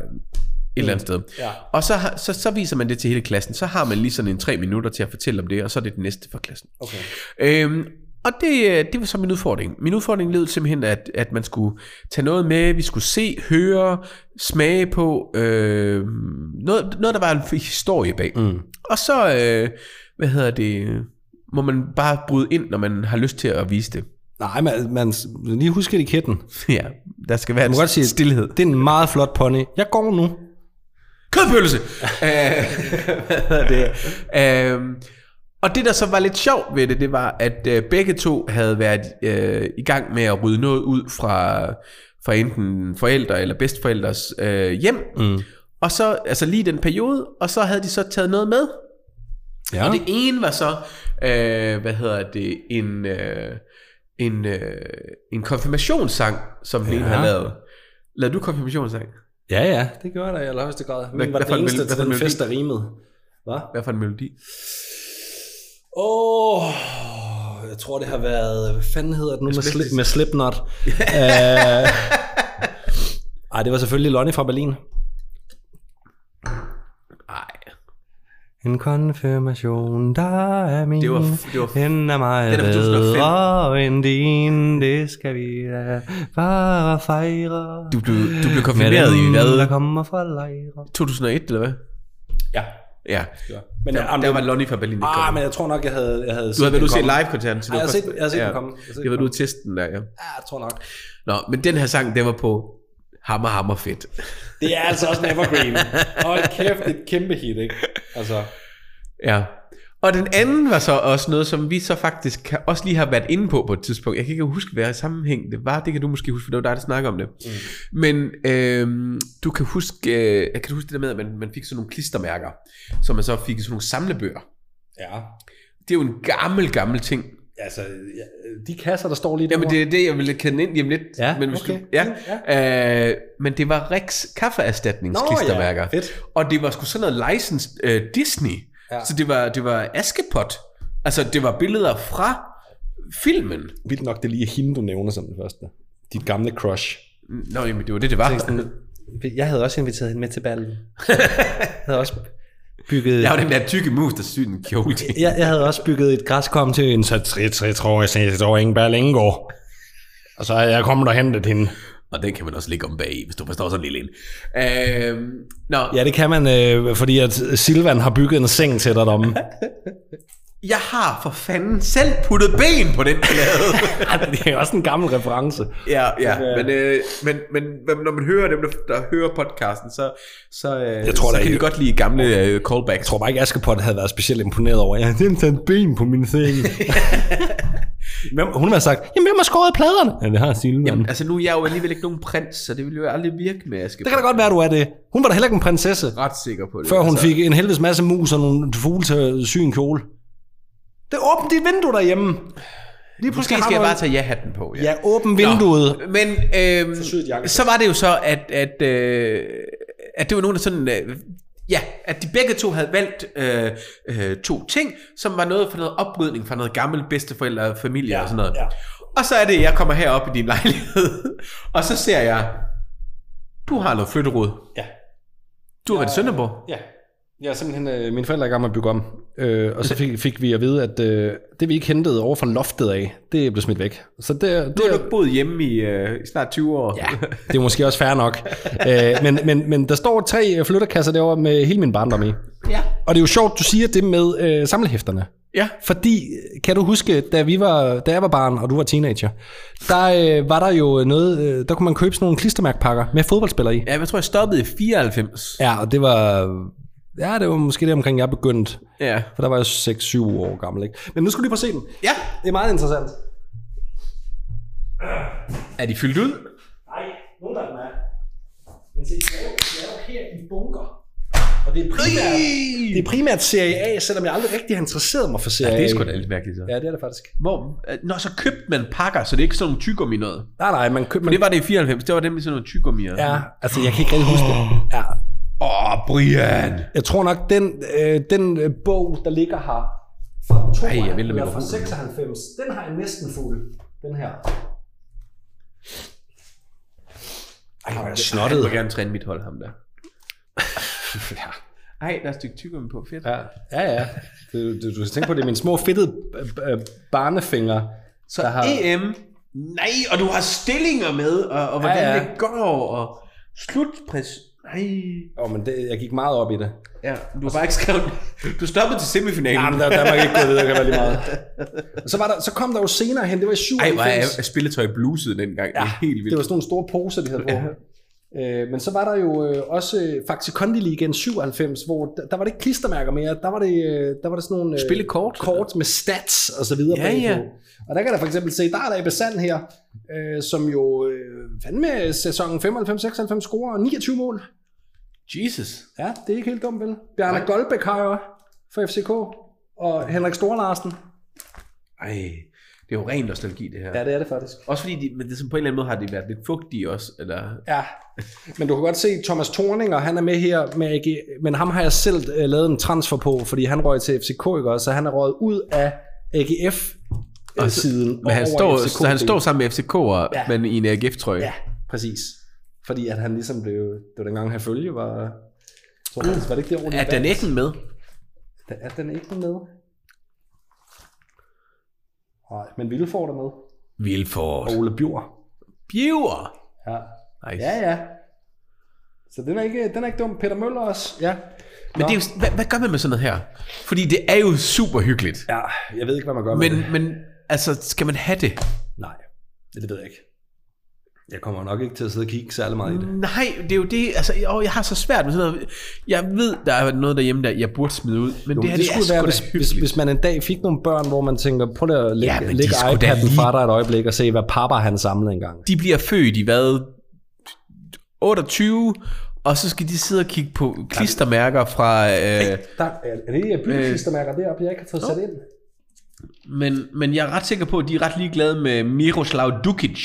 eller andet sted. Ja. Og så, har- så, så viser man det til hele klassen. Så har man lige sådan en tre minutter til at fortælle om det, og så er det det næste for klassen. Okay. Øhm, og det, øh, det var så min udfordring. Min udfordring lød simpelthen, at, at man skulle tage noget med, vi skulle se, høre, smage på, øh, noget, noget, der var en historie bag. Mm. Og så, øh, hvad hedder det, øh, må man bare bryde ind, når man har lyst til at vise det. Nej, man, man lige husk etiketten. ja, der skal være Man en må godt sige, stillhed. det er en meget flot pony. Jeg går nu. kødpølse. Øh, hvad hedder det? Øh, og det, der så var lidt sjovt ved det, det var, at øh, begge to havde været øh, i gang med at rydde noget ud fra, fra enten forældre eller bedsteforældres øh, hjem. Mm. Og så, altså lige den periode, og så havde de så taget noget med. Ja. Og det ene var så, øh, hvad hedder det, en, øh, en, øh, en konfirmationssang, som den ja. ene Ja. havde lavet. Lavede du konfirmationssang? Ja, ja, det gjorde der i allerhøjeste grad. Min Hvad- var hvad for den en eneste mel- hvad til for en den melodi? fest, der rimede. Hvad? Hvad for en melodi? Åh, oh, jeg tror det har været, hvad fanden hedder det nu med, slip, med Slipknot? uh, ej, det var selvfølgelig Lonnie fra Berlin. Nej. En konfirmation, der er min. Det var f- det var f- den er meget Den er fra 2005. bedre end din. Det skal vi da bare fejre. Du blev, du blev Med konfirmeret i dem, hvad? der kommer fra lejre. 2001, eller hvad? Ja. Ja. Men, Der, jeg, der var Lonnie fra Berlin. ikke ah, kommet. men jeg tror nok, jeg havde... Jeg havde du havde været ude den til komme. live-koncerten. så det Ej, var jeg har først- set- jeg har set den komme. Jeg har set Det den var ude komme. til testen der, ja. Ja, jeg tror nok. Nå, men den her sang, den var på hammer, hammer fedt. Det er altså også en evergreen. Hold kæft, det er et kæmpe hit, ikke? Altså, Ja. Og den anden var så også noget, som vi så faktisk kan, også lige har været inde på på et tidspunkt. Jeg kan ikke huske, hvad sammenhæng det var. Det kan du måske huske, for det var dig, der snakker om det. Mm. Men øh, du kan huske, øh, kan du huske det der med, at man, man fik sådan nogle klistermærker, som man så fik i sådan nogle samlebøger. ja. Det er jo en gammel, gammel ting. Altså, ja, de kasser, der står lige Jamen derovre. det er det, jeg ville kende ind hjem lidt. Ja, men, hvis okay. du, ja. ja. Øh, men det var Rex kaffeerstatningsklistermærker. Nå, ja. Fedt. Og det var sgu sådan noget licensed øh, Disney. Ja. Ja. Så det var, det var Askepot. Altså det var billeder fra filmen. Vildt nok, det er lige hende, du nævner som den første. Dit gamle crush. Nå, jamen det var det, det var. Jeg havde også inviteret hende med til ballen. Jeg havde også bygget... Jeg var den der tykke mus, der syede en kjole til. Jeg, jeg havde også bygget et græskom til en så tre, tre, tror jeg, jeg tror, ingen bær længe går. Og så er jeg kommet og hentet hende. Og den kan man også ligge om bag i, hvis du forstår sådan en lille en. Øh, nå, Ja, det kan man, øh, fordi at Silvan har bygget en seng til dig deromme. jeg har for fanden selv puttet ben på den plade. det er også en gammel reference. Ja, ja, øh, men, øh, men, men, men når man hører dem, der, der hører podcasten, så, så, øh, Jeg tror, så der kan er- de godt lide gamle øh, callbacks. Jeg tror bare ikke, Askepot havde været specielt imponeret over, at jeg havde taget ben på min seng. Hvem- hun har sagt, jamen hvem har skåret i pladerne? Ja, det har Silvan. Jamen, Altså nu er jeg jo alligevel ikke nogen prins, så det ville jo aldrig virke med Aske. det kan da godt være, du er det. Hun var da heller ikke en prinsesse, ret sikker på det. før hun altså. fik en helvedes masse mus og nogle fugle til at sy en kjole. Det er åbent dit vindue derhjemme. Lige Måske skal jeg bare tage ja-hatten på, ja. Ja, åbn vinduet. Nå. Men øhm, Forsøg et jakkesæt. så var det jo så, at, at, øh, at det var nogen, der sådan... Øh, Ja, at de begge to havde valgt øh, øh, to ting, som var noget for noget oprydning fra noget gammel bedsteforældre og familie ja, og sådan noget. ja. Og så er det, jeg kommer herop i din lejlighed, og så ser jeg, du har noget flytterod. Ja. Du har været i Sønderborg. Ja. Ja, simpelthen, øh, mine forældre er i gang med at bygge om, øh, og så fik, fik vi at vide, at øh, det vi ikke hentede over fra loftet af, det blev smidt væk. Så det, det, Du har nok boet hjemme i, øh, i snart 20 år. Ja, det er måske også fair nok. Øh, men, men, men der står tre øh, flytterkasser derovre med hele min barndom i. Ja. Og det er jo sjovt, du siger det med øh, samlehæfterne. ja. Fordi, øh, kan du huske, da, vi var, da jeg var barn, og du var teenager, der øh, var der jo noget, øh, der kunne man købe sådan nogle klistermærkpakker med fodboldspillere i. Ja, jeg tror, jeg stoppede i 94. Ja, og det var, ja, det var måske det omkring, jeg begyndte. Ja. For der var jeg 6-7 år gammel, ikke? Men nu skal du lige prøve at se den. ja. Det er meget interessant. Er de fyldt ud? Nej, nogle af dem er. Men se, de er jo, de er jo her i bunker. Og det er primært, det er primært serie A, selvom jeg aldrig rigtig har interesseret mig for serie A. Det er sgu da lidt mærkeligt så. Ja, det er det faktisk. Hvor, øh, nå, så købte man pakker, så det er ikke sådan nogle tygummi noget. Nej, nej, man køber... Men det var det i 94, det var dem med sådan nogle tygummier. Ja, altså jeg kan ikke rigtig huske det. Ja. Åh, oh, Brian. Jeg tror nok, den, øh, den øh, bog, der ligger her, fra to, Ej, jeg vælter eller fra mikrofonen. 96, den har jeg næsten fuld. Den her. Ej, hvor er jeg Jeg snottet. vil gerne træne mit hold, ham der. Ja. Ej, der er et stykke tygummi på. Fedt. Ja, ja. ja. Du, du, du skal tænke på, det er mine små fedtede øh, øh, barnefingre, så der har... EM. E Nej, og du har stillinger med, og, og hvordan Ja, ja, ja. ja. det går, og slutpræs. Nej. Åh, men det, jeg gik meget op i det. Ja, du har bare ikke skrevet Du stoppede til semifinalen. Ja, men der, der var ikke gået videre, kan være lige meget. Og så, var der, så kom der jo senere hen, det var i 97. Ej, hvor er er spilletøj bluset dengang. Ja, det er helt vildt. det var sådan nogle store poser, de havde på. Øh, men så var der jo øh, også øh, Faxe Kondi Ligaen 97, hvor der, der var det ikke klistermærker mere, der var det, øh, der var det sådan nogle øh, Spillekort. kort med stats og så videre Ja, bagpå. ja. Og der kan der for eksempel se, der er der Ebbe Sand her, øh, som jo øh, fandme sæsonen 95-96 scorer 29 mål. Jesus. Ja, det er ikke helt dumt, vel? Bjarne Goldbæk har jo for FCK, og Henrik Storlarsen. Ej, det er jo ren nostalgi, det her. Ja, det er det faktisk. Også fordi, de, men det, som på en eller anden måde har de været lidt fugtige også, eller... Ja, men du kan godt se, Thomas Thorning, og han er med her med AG, men ham har jeg selv øh, lavet en transfer på, fordi han røg til FCK, ikke? også? så han er røget ud af øh, Og så- AGF-siden. Men han står, så han står sammen med FCK'er, Ja. ja. men i en AGF-trøje. Ja, præcis. Fordi at han ligesom blev, det var dengang han følge, var, jeg tror, faktisk, var det ikke det ordentligt? Er Dan Eggen med? Er den ikke med? Nej, men Vildeford er med. Vilfort. Og Ole Bjørn. Bjøver. Ja. Nice. ja, ja. Så den er, ikke, den er ikke dum. Peter Møller også. Ja. Men det er jo, hvad, hvad gør man med sådan noget her? Fordi det er jo super hyggeligt. Ja, jeg ved ikke, hvad man gør Men, med det. men altså, skal man have det? Nej, det, det ved jeg ikke. Jeg kommer nok ikke til at sidde og kigge særlig meget i det. Nej, det er jo det. Altså, åh, jeg har så svært med sådan noget. Jeg ved, der er noget derhjemme, der jeg burde smide ud. Men jo, det her, det, det er sgu da hvis, hvis, hyggeligt. hvis man en dag fik nogle børn, hvor man tænker, prøv lige at lægge, Ja, men ja, de lægge skulle da iPad'en lige... lige- fra dig et øjeblik og se, hvad pappa han samlede engang. de bliver født i hvad? 28, og så skal de sidde og kigge på klistermærker fra... Øh, Der, er er det ikke byggekistermærker deroppe, jeg ikke har fået sat ind? men, men jeg er ret sikker på, at de er ret ligeglade med Miroslav Dukic.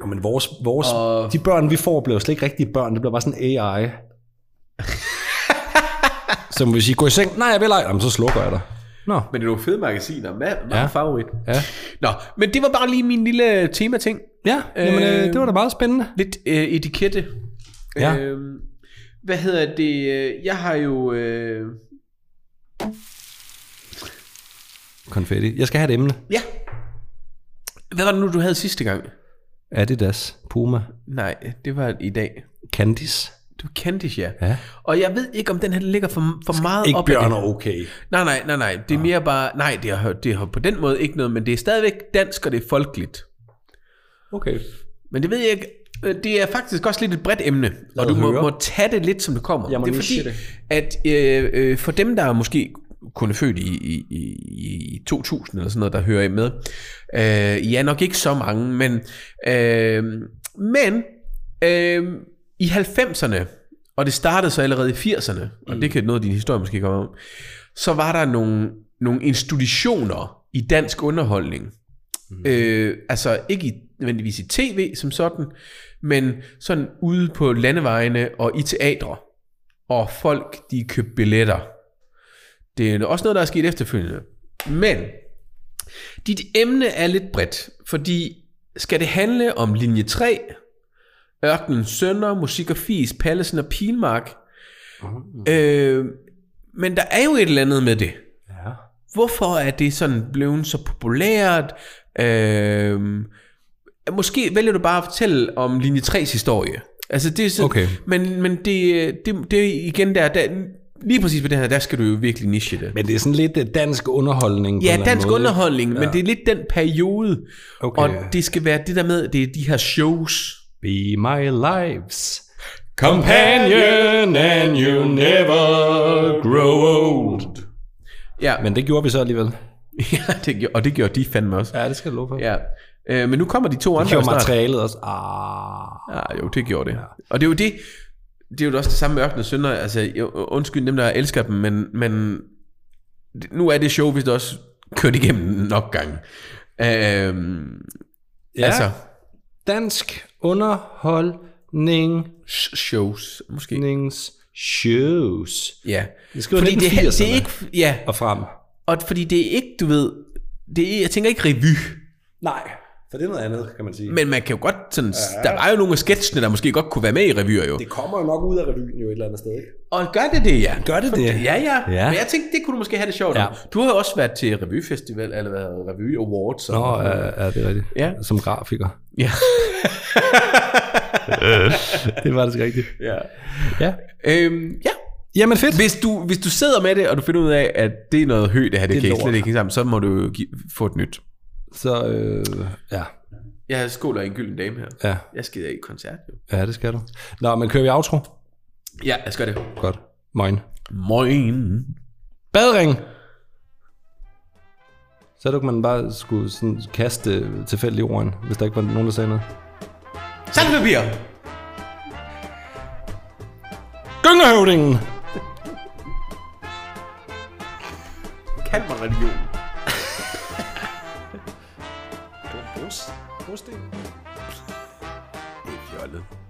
Nå, men vores, vores, Og- de børn, vi får, bliver jo slet ikke rigtige børn. Det bliver bare sådan AI. Som hvis I går i seng, nej, jeg vil ej, Jamen, så slukker jeg dig. Nå, Men det er nogle fede magasiner. Hvad Ja. ja. favorit? ja. Nå, men det var bare lige min lille tema-ting. Ja, jamen, øh, Øh, det var da meget spændende. Lidt øh, etikette. Ja. Øhm, hvad hedder det? Jeg har jo... Øh, Konfetti. Jeg skal have et emne. ja. Hvad var det nu, du havde sidste gang? Adidas, Puma, Nej, det var i dag. Candice. Du kendte ja. Ja. Og jeg ved ikke, om den her ligger for, for meget op ad det. okay. Nej, nej, nej, nej. Ah. Det er mere bare... Nej, det har, det har på den måde ikke noget, men det er stadigvæk dansk, og det er folkeligt. Okay. Men det ved jeg ikke. Øh, Det er faktisk også lidt et bredt emne, Lad og os du må, høre. må tage det lidt, som det kommer. Jeg må det er fordi, niche at øh, øh, for dem, der måske kun er født i, i, i, i 2000 eller sådan noget, der hører I med, øh, ja, nok ikke så mange, men, øh, men øh, i 90'erne, og det startede så allerede i 80'erne, og det kan noget af din historie måske komme om, så var der nogle, nogle institutioner i dansk underholdning, Øh, altså ikke i, nødvendigvis i tv som sådan, men sådan ude på landevejene og i teatre, og folk de købte billetter. Det er også noget, der er sket efterfølgende. Men dit emne er lidt bredt, fordi skal det handle om linje 3, Ørkenens Sønder, Musik og Fis, Pallesen og Pilmark? Øh, men der er jo et eller andet med det. Ja. Hvorfor er det sådan blevet så populært? Øh, måske vælger du bare at fortælle om linje 3's historie. Altså det er sådan, Okay. men, men det, det, det er igen der, der, lige præcis ved det her, der skal du jo virkelig niche det. Men det er sådan lidt øh, dansk underholdning. på en Ja, eller anden dansk måde, ikke? underholdning, ja. men det er lidt den periode, Okay. okay. og det skal være det der med, det er de her shows. Be my life's companion, and you never grow old. Ja, men, Men det gjorde vi så alligevel. ja det, gjorde- og det gjorde de fandme også. Ja, det skal jeg love for. Ja, Ja. Øh, men nu kommer de to det andre jo gjorde snart. materialet også. Ah. Ja, jo, det gjorde det. Og det er jo det, det er jo også det samme med Ørken og Sønder, altså jo, undskyld dem, der elsker dem, men, men det- nu er det show, hvis det også kørt igennem nok gange. Øhm, Ja, Altså, altså. dansk underholdning sh- shows, måske. shows. Ja. Det skriver Fordi det, det 1980'erne. er ikke, ja, Og frem. og fordi det er ikke, du ved, det er, jeg tænker ikke revy, Nej, for det er noget andet, kan man sige. men man kan jo godt sådan, ja. der var jo nogle af sketchene, der måske godt kunne være med i revyer jo. det kommer jo nok ud af revyen jo et eller andet sted, ikke? Og gør det det, ja. Gør det det? Ja, ja, Ja. ja. Men jeg tænkte, det kunne du måske have det sjovt Ja. ja. Du har jo også været til revyfestival, eller været revy awards. Nå, Og, øh, ja, det er rigtigt. Ja. Som grafiker. Øh, Ja. det var det sgu rigtigt. ja. Ja. Øhm, ja. Jamen fedt. Hvis, du, hvis du sidder med det, og du finder ud af, at det er noget højt, det her, det, Det det er kan ikke lort. slet ikke hænge sammen, så må du jo give, få et nyt. Så, øh, ja. Jeg skåler en gylden dame her. ja. Jeg skal i koncert, jo. Ja, det skal du. Nå, men kører vi outro? Ja, jeg skal det. Godt. Moin. Moin. Badring! Så du man bare skulle sådan kaste tilfældigt ordene, hvis der ikke var nogen, der sagde noget. Salgpapir! Gyngerhøvdingen! Kan man religion? Brus. Brus, det. Det er fjollet.